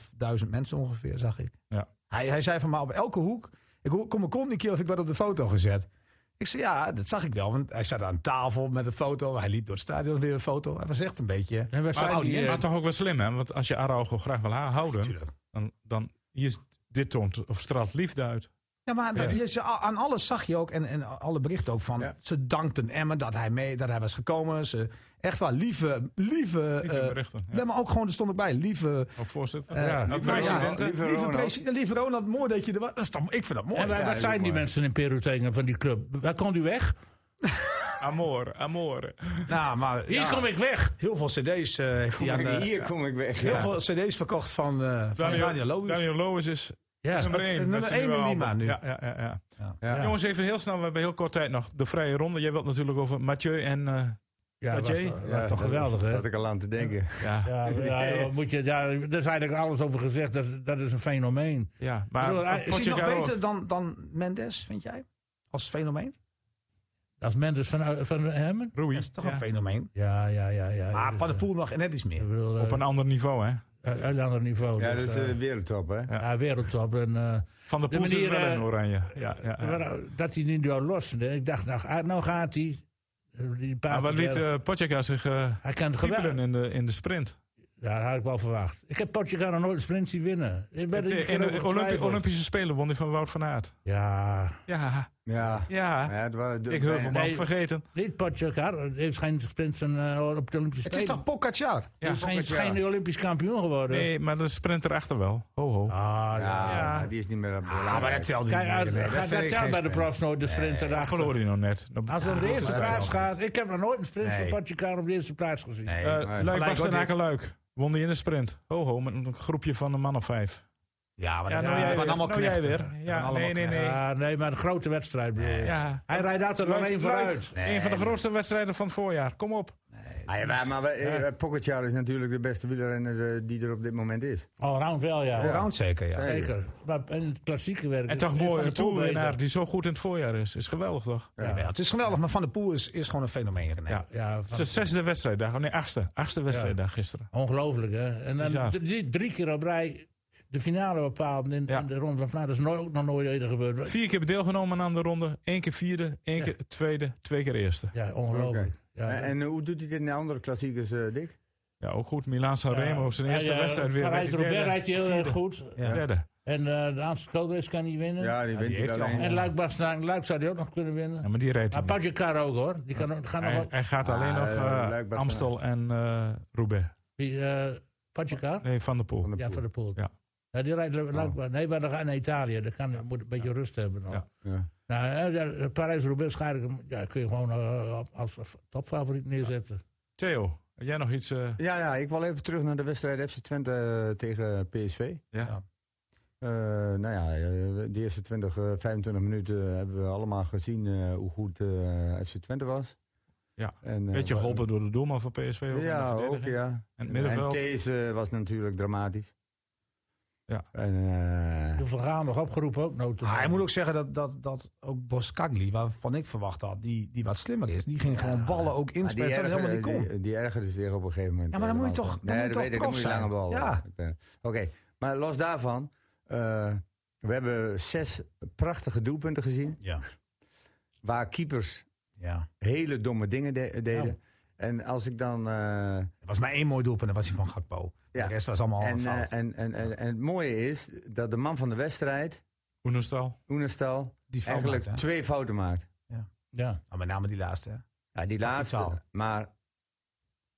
S2: 12.000 mensen ongeveer, zag ik.
S1: Ja.
S2: Hij, hij zei van maar op elke hoek. Ik hoor- kom een kont niet keer of ik werd op de foto gezet. Ik zei ja, dat zag ik wel. Want hij zat aan tafel met een foto. Hij liep door het stadion weer een foto. Hij was echt een beetje.
S3: En waar
S1: Maar,
S3: zijn die, eh,
S1: maar toch ook wel slim, hè? Want als je Araujo graag wil ha- houden,
S2: Tuurlijk.
S1: dan, dan hier is dit toont of straalt liefde uit.
S2: Ja, maar dat- je- ze- aan alles zag je ook en, en alle berichten ook van. Ze dankten Emmen dat hij mee dat hij was gekomen. Ze, echt wel lieve, lieve.
S1: Lieve
S2: eh,
S1: berichten. Ja.
S2: nee, maar ook gewoon, er stond ook bij. Lieve,
S1: Ook voorzitter.
S2: eh,
S1: ja,
S3: lieve-
S1: ook
S4: Nou ja,
S1: president.
S4: lieve
S2: lieve,
S4: Ronald.
S2: presi- lieve Ronald, mooi dat je er was. Dat is toch- ik vind dat mooi.
S3: en waar,
S4: Ja,
S3: wat
S4: heel
S3: zijn die
S4: mooi.
S3: mensen in Peru tegen van die club? Waar komt u weg?
S1: Amor, amor.
S2: Nou, maar
S3: Hier
S2: ja,
S3: kom ik weg.
S2: heel veel cd's eh, heeft hij aan de-
S4: hier kom ik weg.
S2: Heel
S4: ja.
S2: veel cd's verkocht van, eh van
S1: Daniel,
S2: Daniel
S1: Daniel,
S2: Lowes.
S1: Lowes is,
S3: Ja.
S1: is nummer
S2: eh,
S1: 1.
S2: nummer één in Lima nu.
S1: Ja, ja, ja, ja.
S3: Ja.
S1: Jongens, even heel snel. We hebben heel kort tijd nog. De vrije ronde. Jij wilt natuurlijk over Mathieu en... eh,
S3: Ja, dat
S1: Tadjé?
S3: was, was toch
S4: dat
S3: geweldig, hè?
S4: zat ik al aan te denken.
S1: ja, ja.
S2: [LAUGHS]
S3: Ja, ja, wat moet je, daar, daar is eigenlijk alles over gezegd. Dat, dat is een fenomeen.
S1: maar...
S3: Ik bedoel, hij-
S2: Is hij nog
S1: Pochettino-
S2: beter dan, dan Mendes, vind jij? Als fenomeen?
S3: Als Mendes van, van Hemmen?
S1: Rui.
S2: Dat is toch
S1: Ja.
S2: een fenomeen.
S3: Ja, ja, ja. ja
S2: Maar
S3: Dus,
S2: Van der
S3: eh,
S2: Poel nog en net iets
S3: ik
S2: meer.
S3: bedoel,
S1: Op een ander niveau, hè?
S3: eh, een ander niveau.
S4: Ja,
S3: dus,
S4: dat is
S3: eh,
S4: eh, wereldtop, hè?
S1: ja.
S3: ja, wereldtop. En, eh,
S1: Van de
S3: De
S1: Poel zit
S3: manier,
S1: wel
S3: eh,
S1: in oranje. Ja, ja, ja.
S3: Maar, eh, dat hij niet door los. Ik dacht, nou, ga- nou gaat hij. Eh, Die
S1: Maar wat liet
S3: Paterberg.
S1: eh Pochettino zich eh
S3: hij kan het
S1: kiepelen
S3: geweldig.
S1: in de, in de sprint?
S3: Ja, dat had ik wel verwacht. Ik heb Portugal nog nooit een sprint zien winnen. Ik ben
S1: Het,
S3: er
S1: eh,
S3: niet
S1: in
S3: voor
S1: de Olympi-
S3: getwijfeld.
S1: Olympische Spelen won hij van Wout van Aert.
S3: Ja,
S1: Ja,
S4: Ja.
S1: ja.
S4: Ja, het waren de-
S1: Ik Heuvelman
S3: Nee.
S1: vergeten.
S3: niet Portugal. Het heeft geen sprint van, eh, op de Olympische
S2: Het is toch
S3: Spelen.
S2: Pogacar?
S1: Ja,
S3: Het is geen, het is geen Olympisch kampioen geworden.
S1: Nee, maar de sprint erachter wel. Ho, ho.
S3: Ah, ja.
S4: Ja,
S1: Ja.
S4: maar die is niet meer
S2: Ah, maar
S4: belangrijk.
S2: dat telt niet.
S3: Kijk,
S2: Nee,
S3: uit,
S2: nee, dat
S3: gaat
S2: vind
S3: dat
S2: ik
S3: telt
S2: geen
S3: bij de
S2: sprint.
S3: profs nooit de sprint
S1: Dat
S3: erachter.
S1: verloor hij nog net. Dat-
S3: Als het om de eerste
S2: dat
S3: plaats
S2: telt
S3: gaat. Ik heb nog nooit een sprint
S2: Nee.
S3: van Portugal op de eerste plaats gezien.
S2: Nee.
S1: Eh, Luik
S2: Gelijk
S1: Bastenaken Luik. Won hij in de sprint. Ho, ho, met een groepje van een man of vijf.
S2: ja, maar
S1: Ja,
S2: dat
S1: nou jij
S2: waren
S1: weer.
S2: allemaal
S1: Nou jij
S2: knechten.
S1: weer.
S2: Van
S1: Ja,
S2: allemaal
S1: nee, nee, nee.
S3: Ja, Ah, nee, maar een grote wedstrijd. bedoel je.
S1: Ja.
S3: Hij rijdt altijd
S1: Luik-
S3: alleen
S1: Luik,
S3: vooruit.
S1: Een van de grootste wedstrijden van het voorjaar. Kom op.
S4: Ah, ja, maar- maar we- eh, Pogacar is natuurlijk de beste wielrenner eh, die er op dit moment is.
S3: All Oh, round wel, ja.
S2: Allround zeker, ja.
S3: Zeker. Maar in het klassieke werk.
S1: En
S3: is
S1: toch
S3: Van
S1: mooi,
S3: der
S1: een
S3: Poel
S1: toerwinnaar
S3: beter.
S1: die zo goed in het voorjaar is. Is geweldig, toch?
S2: Ja, wel, Het is geweldig, maar Van der Poel is, is gewoon een fenomeen. René.
S1: Ja.
S3: Ja,
S1: Het is de
S3: van-
S1: zesde wedstrijddag. Nee, achtste. Achtste wedstrijddag gisteren.
S3: ongelooflijk hè. En dan
S1: Bizar.
S3: drie, drie keer op rij de finale bepaald in,
S1: Ja.
S3: in de Ronde van Vlaanderen. Dat is nooit, ook nog nooit eerder gebeurd.
S1: Vier keer heb deelgenomen aan de ronde. Eén keer vierde, één
S3: Ja.
S1: keer tweede, twee keer eerste.
S3: Ja, ongelooflijk. Ja,
S4: En, en hoe doet hij dit in de andere klassiekers, eh, Dick?
S1: Ja, ook goed. Milaan San Remo, zijn eerste wedstrijd weer. werd hij
S3: Robert
S1: derde,
S3: rijdt hij heel erg
S1: vierde,
S3: goed.
S1: Derde.
S3: En eh de Aanse Koolreis kan hij winnen.
S4: Ja, die wint
S2: heeft
S4: hij
S2: hij
S4: alleen.
S2: al.
S3: En Luik Bastenaken, Luik zou hij ook nog kunnen winnen.
S1: Ja, maar die rijdt
S3: Maar
S1: hij niet.
S3: Padjekar ook hoor. Die kan, ook- gaan nog
S1: Hij,
S3: wel.
S1: hij gaat alleen
S4: Ah,
S1: nog
S4: eh,
S1: eh,
S4: Luik Bastenaken.
S1: Amstel en eh Roubaix.
S3: Wie, eh, Padjekar?
S1: Nee, Van der Poel.
S4: Van de
S3: Ja,
S4: Poel.
S3: van de Poel.
S1: Ja. Oh.
S3: Ja, die rijdt Le- Luik- Nee, maar dan gaan naar Italië. Dan kan, moet een beetje rust hebben dan.
S1: Ja.
S4: Ja.
S3: Nou, eh, ja, Parijs-Roubaix ga ik hem- ja, kun je gewoon eh, op- als topfavoriet neerzetten.
S1: Theo, heb jij nog iets? eh,
S4: Ja, ja, ik wil even terug naar de wedstrijd FC Twente eh, tegen PSV.
S1: ja?
S4: Eh, nou ja, eh, de eerste 20, eh, 25 minuten hebben we allemaal gezien eh, hoe goed eh, FC Twente was.
S1: Ja,
S4: en, eh,
S1: Beetje
S4: wa-
S1: geholpen door de doelman van PSV. Ook
S4: Ja,
S1: en de
S4: ook
S1: verdediging.
S4: ja.
S1: En het
S4: En
S1: middenveld.
S4: deze was natuurlijk dramatisch.
S1: Ja.
S4: En, eh,
S3: De Vergaan nog opgeroepen ook noten.
S2: Maar Ah, hij moet ook zeggen dat, dat, dat ook Boskagli, waarvan ik verwacht had, die, die wat slimmer is, die ging gewoon ballen ook
S4: maar die,
S2: inspelen. terwijl hij
S4: erger-
S2: helemaal niet kon.
S4: die, die ergerde zich op een gegeven moment.
S2: Ja, maar dan
S4: eh,
S2: moet je
S4: want-
S2: toch- dan
S4: Nee,
S2: moet je toch
S4: dat weet ik, dan
S2: prof
S4: moet je lange
S2: zijn.
S4: bal. Eh,
S2: Ja.
S4: Oké, Maar los daarvan, eh, we hebben zes prachtige doelpunten gezien.
S2: Ja.
S4: Waar keepers
S2: ja.
S4: hele domme dingen de- deden.
S2: Nou.
S4: En als ik dan. eh,
S2: Er was maar één mooi doelpunt, dat was die van Gakpo.
S4: Ja.
S2: De rest was allemaal
S4: en,
S2: Oh, een fout.
S4: eh, en, en, en, en het mooie is dat de man van de wedstrijd,
S1: Oenestal.
S4: Oenestal,
S2: die fout
S4: eigenlijk
S2: maakte, hè?
S4: twee fouten maakt.
S3: Ja.
S2: Nou, met name die laatste. hè?
S4: Ja, die laatste.
S2: fout.
S4: Maar,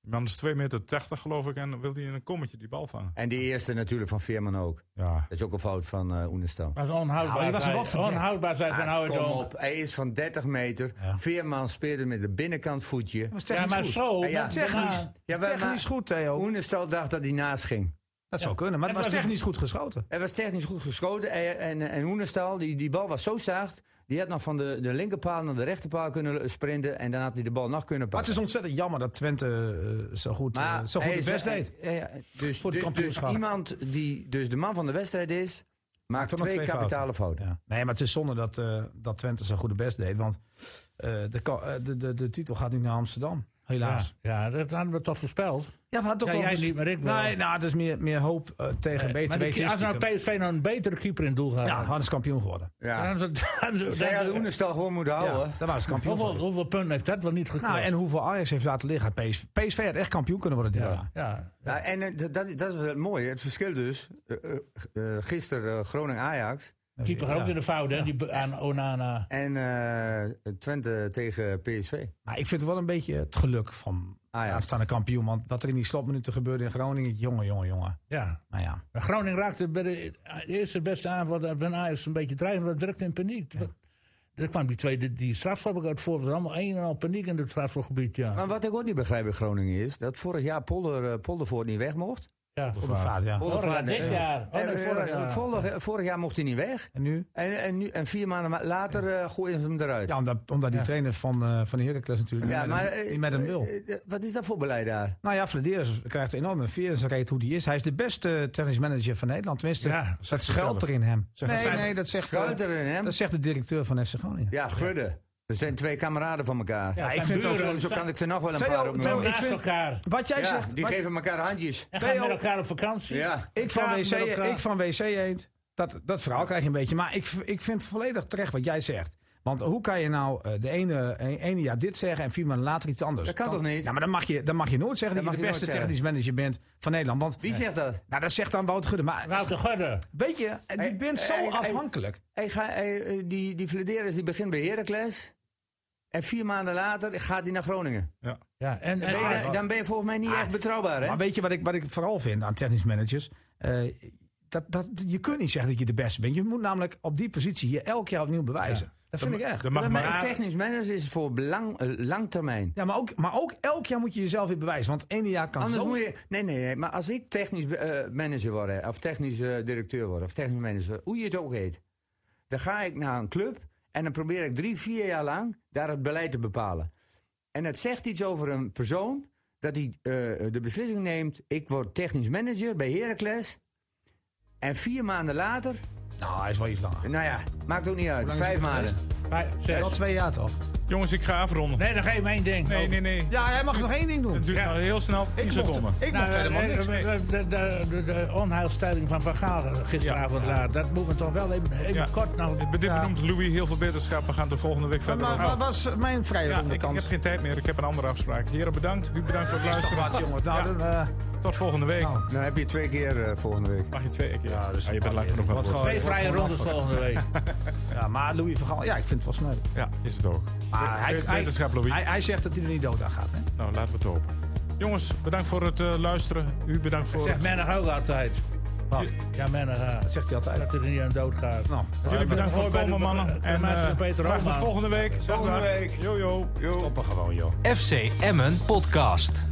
S1: Die man is 2,80 meter geloof ik en dan wil hij in een kommetje die bal vangen.
S4: en die eerste natuurlijk van Veerman ook.
S1: Ja.
S4: Dat is ook een fout van eh Oenestal.
S3: Maar het is onhoudbaar.
S2: Nou, die was er
S3: zijn-
S2: wel verdekt.
S3: onhoudbaar zijn van
S4: Ah,
S3: Howard
S4: kom
S3: Dome.
S4: op, hij is van 30 meter.
S2: Ja.
S4: Veerman speelde met de binnenkant voetje.
S2: Dat was
S3: Ja,
S2: technisch
S3: maar
S2: goed.
S3: zo.
S4: Ja, ja.
S3: met-
S4: Technisch.
S3: daarna-
S4: Ja, wij-
S2: technisch
S4: maar-
S2: goed, Theo.
S4: Oenestal dacht dat hij naast ging.
S2: Dat zou kunnen, maar het
S3: Het
S2: was
S3: was een-
S2: technisch goed geschoten.
S4: Hij was technisch goed geschoten. En, en, en Hoenestal, die, die bal was zo zacht. Die had nog van de, de linkerpaal naar de rechterpaal kunnen sprinten. En dan had hij de bal nog kunnen
S2: Maar het
S4: pakken.
S2: is ontzettend jammer dat Twente eh, zo goed, eh, zo goed
S4: hij
S2: het
S4: is-
S2: best deed.
S4: hij- ja, ja, dus,
S2: Voor het
S4: dus, dus
S2: kampioenschap.
S4: iemand die dus de man van de wedstrijd is, maakt
S2: toch nog
S4: twee,
S2: twee fouten.
S4: kapitale fouten.
S2: Ja. Nee, maar het is zonde dat, eh, dat Twente zo goed het best deed. Want eh, de, ka- eh, de, de, de titel gaat nu naar Amsterdam,
S3: Ja,
S2: helaas.
S3: ja, dat hadden we toch voorspeld.
S2: Ja, we hadden
S3: Ja,
S2: toch wel
S3: jij
S2: eens-
S3: niet, maar ik wel.
S2: Nee, nou, het is meer, meer hoop eh, tegen
S3: Eh,
S2: beter
S3: maar die-
S2: weten.
S3: als nou PSV nou een betere keeper in het doel gaat
S2: Ja,
S3: hebben,
S2: hadden ze kampioen geworden.
S4: Ja.
S3: dan is het- dan- dan-
S4: Zij hadden Hoenestal gewoon moeten houden.
S2: Ja, dan waren ze kampioen
S3: hoeveel,
S2: geworden.
S3: hoeveel punten heeft dat wel niet gekost?
S2: Nou, en hoeveel Ajax heeft laten liggen. PSV, PSV had echt kampioen kunnen worden dit
S3: ja,
S2: jaar.
S3: ja.
S4: Nou, en eh, dat, dat, dat is wel het mooie. Het verschil dus, eh, eh, g- eh, gisteren eh, Groningen-Ajax
S3: De keeper gaat ook
S2: Ja.
S3: in de fout, hè? Die be- aan Onana.
S4: en eh, Twente tegen PSV.
S2: Maar ik vind het wel een beetje het geluk van
S4: Ajax.
S2: aanstaande kampioen. Want wat er in die slotminuten gebeurde in Groningen, jongen, jongen, jongen.
S3: Ja.
S2: Maar ja,
S3: Maar Groningen raakte bij de eerste beste aanval van Ajax een beetje dreigend, maar drukte in paniek. Er kwam die tweede, die strafschop ook uit voor. Er was allemaal een en al paniek in het strafschopgebied, ja.
S4: Maar wat ik ook niet begrijp bij Groningen is dat vorig jaar Polder, eh, Poldervoort niet weg mocht.
S3: ja.
S2: op de vaart, ja.
S3: Vorig jaar,
S4: Poldervaart,
S3: dit
S4: eh,
S3: jaar. Oh,
S4: eh,
S3: nee,
S4: eh,
S3: vorig jaar.
S4: vorig- vorig jaar mocht hij niet weg.
S2: En nu?
S4: En, en, nu, en vier maanden ma- later eh, gooien ze hem eruit.
S2: Ja, omdat, omdat die
S3: Ja.
S2: trainer van, eh van Heracles natuurlijk
S4: Ja,
S2: niet, met hem,
S4: eh,
S2: niet met hem wil.
S4: eh, eh, wat is dat voor beleid daar?
S2: nou ja, Vladeers krijgt enorm een veer in zijn reet hoe die is. Hij is de beste eh, technisch manager van Nederland. Tenminste,
S3: Ja,
S2: dat schuilt er in hem. nee, nee, dat zegt, eh,
S4: Schuiter en hem?
S2: dat zegt de directeur van FC Groningen.
S4: Ja, Gudde. We zijn twee kameraden van elkaar.
S3: Ja,
S2: ik
S3: zijn
S2: vind het
S3: buren,
S2: ook
S4: Zo, zo kan ik er nog wel een
S2: Theo,
S4: paar op
S2: Theo,
S4: noemen.
S2: ik
S3: naast
S2: vind-
S3: elkaar.
S2: Wat jij
S4: Ja,
S2: zegt,
S4: die
S2: wat-
S4: geven elkaar handjes.
S3: En gaan
S2: Theo-
S3: met elkaar op vakantie.
S4: Ja.
S2: ik, van
S3: samen
S2: WC,
S3: met elkaar.
S2: ik van WC Eend, dat, dat verhaal krijg je een beetje. Maar ik, v- ik vind volledig terecht wat jij zegt. Want hoe kan je nou eh, de ene, eh, ene jaar dit zeggen en vier maanden later iets anders?
S4: Dat kan toch niet?
S2: Ja, maar dan mag je, dan mag je nooit zeggen dat,
S4: Dat
S2: je de
S4: mag je
S2: beste
S4: nooit
S2: technisch manager bent van Nederland. Want
S4: Wie zegt dat?
S2: Nou, dat zegt dan Wout Gudde. Maar
S3: Wouter Gudde.
S2: weet je, je
S4: Hey,
S2: bent zo
S4: hey, hey.
S2: afhankelijk.
S4: Hey, ga, hey, eh, die die Vladeris die begint bij Heracles. En vier maanden later gaat hij naar Groningen.
S3: Ja, en, en,
S4: Ben je dan- dan ben je volgens mij niet echt betrouwbaar, hè?
S2: Ah. Maar weet je wat ik, wat ik vooral vind aan technisch managers? Eh, dat, dat, je kunt niet zeggen dat je de beste bent. Je moet namelijk op die positie je elk jaar opnieuw bewijzen. Dat vind
S1: Dan-
S2: ik echt.
S1: dan mag
S4: Maar
S1: maar-
S4: een technisch manager is voor belang, eh, lang termijn.
S2: Ja, maar ook, maar ook elk jaar moet je jezelf weer bewijzen. Want het ene jaar kan
S4: Anders
S2: zo...
S4: moet je. Nee, nee, nee. Maar als ik technisch eh, manager word, hè, of technisch eh, directeur word, of technisch manager, hoe je het ook heet, dan ga ik naar een club en dan probeer ik drie, vier jaar lang daar het beleid te bepalen. En het zegt iets over een persoon dat hij eh, de beslissing neemt: ik word technisch manager bij Heracles. En vier maanden later,
S2: Nou, hij is wel iets langer.
S4: nou ja, maakt ook niet uit,
S2: lang is
S4: vijf
S2: het
S4: maanden.
S3: maar, zeg.
S2: Wel twee jaar toch?
S1: Jongens, ik ga afronden.
S3: Nee, nog even één ding.
S1: Nee, nee, nee.
S2: Ja, hij mag nog één ding doen.
S1: Het duurt nou heel snel 10
S2: Ik
S1: seconden.
S2: mocht, ik
S3: Nou,
S2: mocht helemaal
S3: eh,
S2: niks.
S3: eh, de, de, de, de onheilstijding van Van Gaal eh, gisteravond laat. Dat moet me toch wel even, even
S1: Ja.
S3: kort nou...
S1: Dit benoemt Louis heel veel beterschap. We gaan de volgende week
S2: Maar
S1: verder. over.
S2: maar waar was mijn vrijdag
S1: Oh. Ja,
S2: om de
S1: ik, ik heb
S2: kans?
S1: geen tijd meer. Ik heb een andere afspraak. Heren, bedankt. U bedankt voor het
S2: [LAUGHS] Is toch
S1: luisteren.
S2: wat, jongens. Nou,
S1: Ja,
S2: dan, eh,
S1: Tot volgende week.
S2: Nou.
S4: Nou heb je twee keer eh, volgende week.
S1: Mag je twee keer? Ja, je bent
S2: wat
S1: lang
S2: is
S1: genoeg aan
S2: het?
S1: het
S2: Wat
S1: woord.
S3: Twee
S2: wordt
S3: vrije
S2: gewoon
S3: rondes volgende week.
S2: [LAUGHS] ja, maar Louis van Gaal, ja, ik vind het wel sneu.
S1: Ja, is het ook.
S2: Maar hij,
S1: Beter-
S2: hij,
S1: Beterschap, Louis.
S2: hij, hij zegt dat hij er niet dood aan gaat, hè?
S1: Nou, laten we het hopen. Jongens, bedankt voor het eh, luisteren. U bedankt voor
S3: Zegt
S1: het...
S3: Mennig ook altijd.
S2: Wat?
S3: Ja, Mennig. eh,
S2: Dat zegt hij altijd.
S3: Dat er niet aan dood gaat.
S2: Nou,
S1: Jullie bedankt voor het komen, mannen. En eh,
S3: Peter
S1: graag tot
S3: Hofman.
S1: volgende week. Volgende week. Jojo.
S2: stoppen gewoon, joh.
S5: FC Emmen podcast.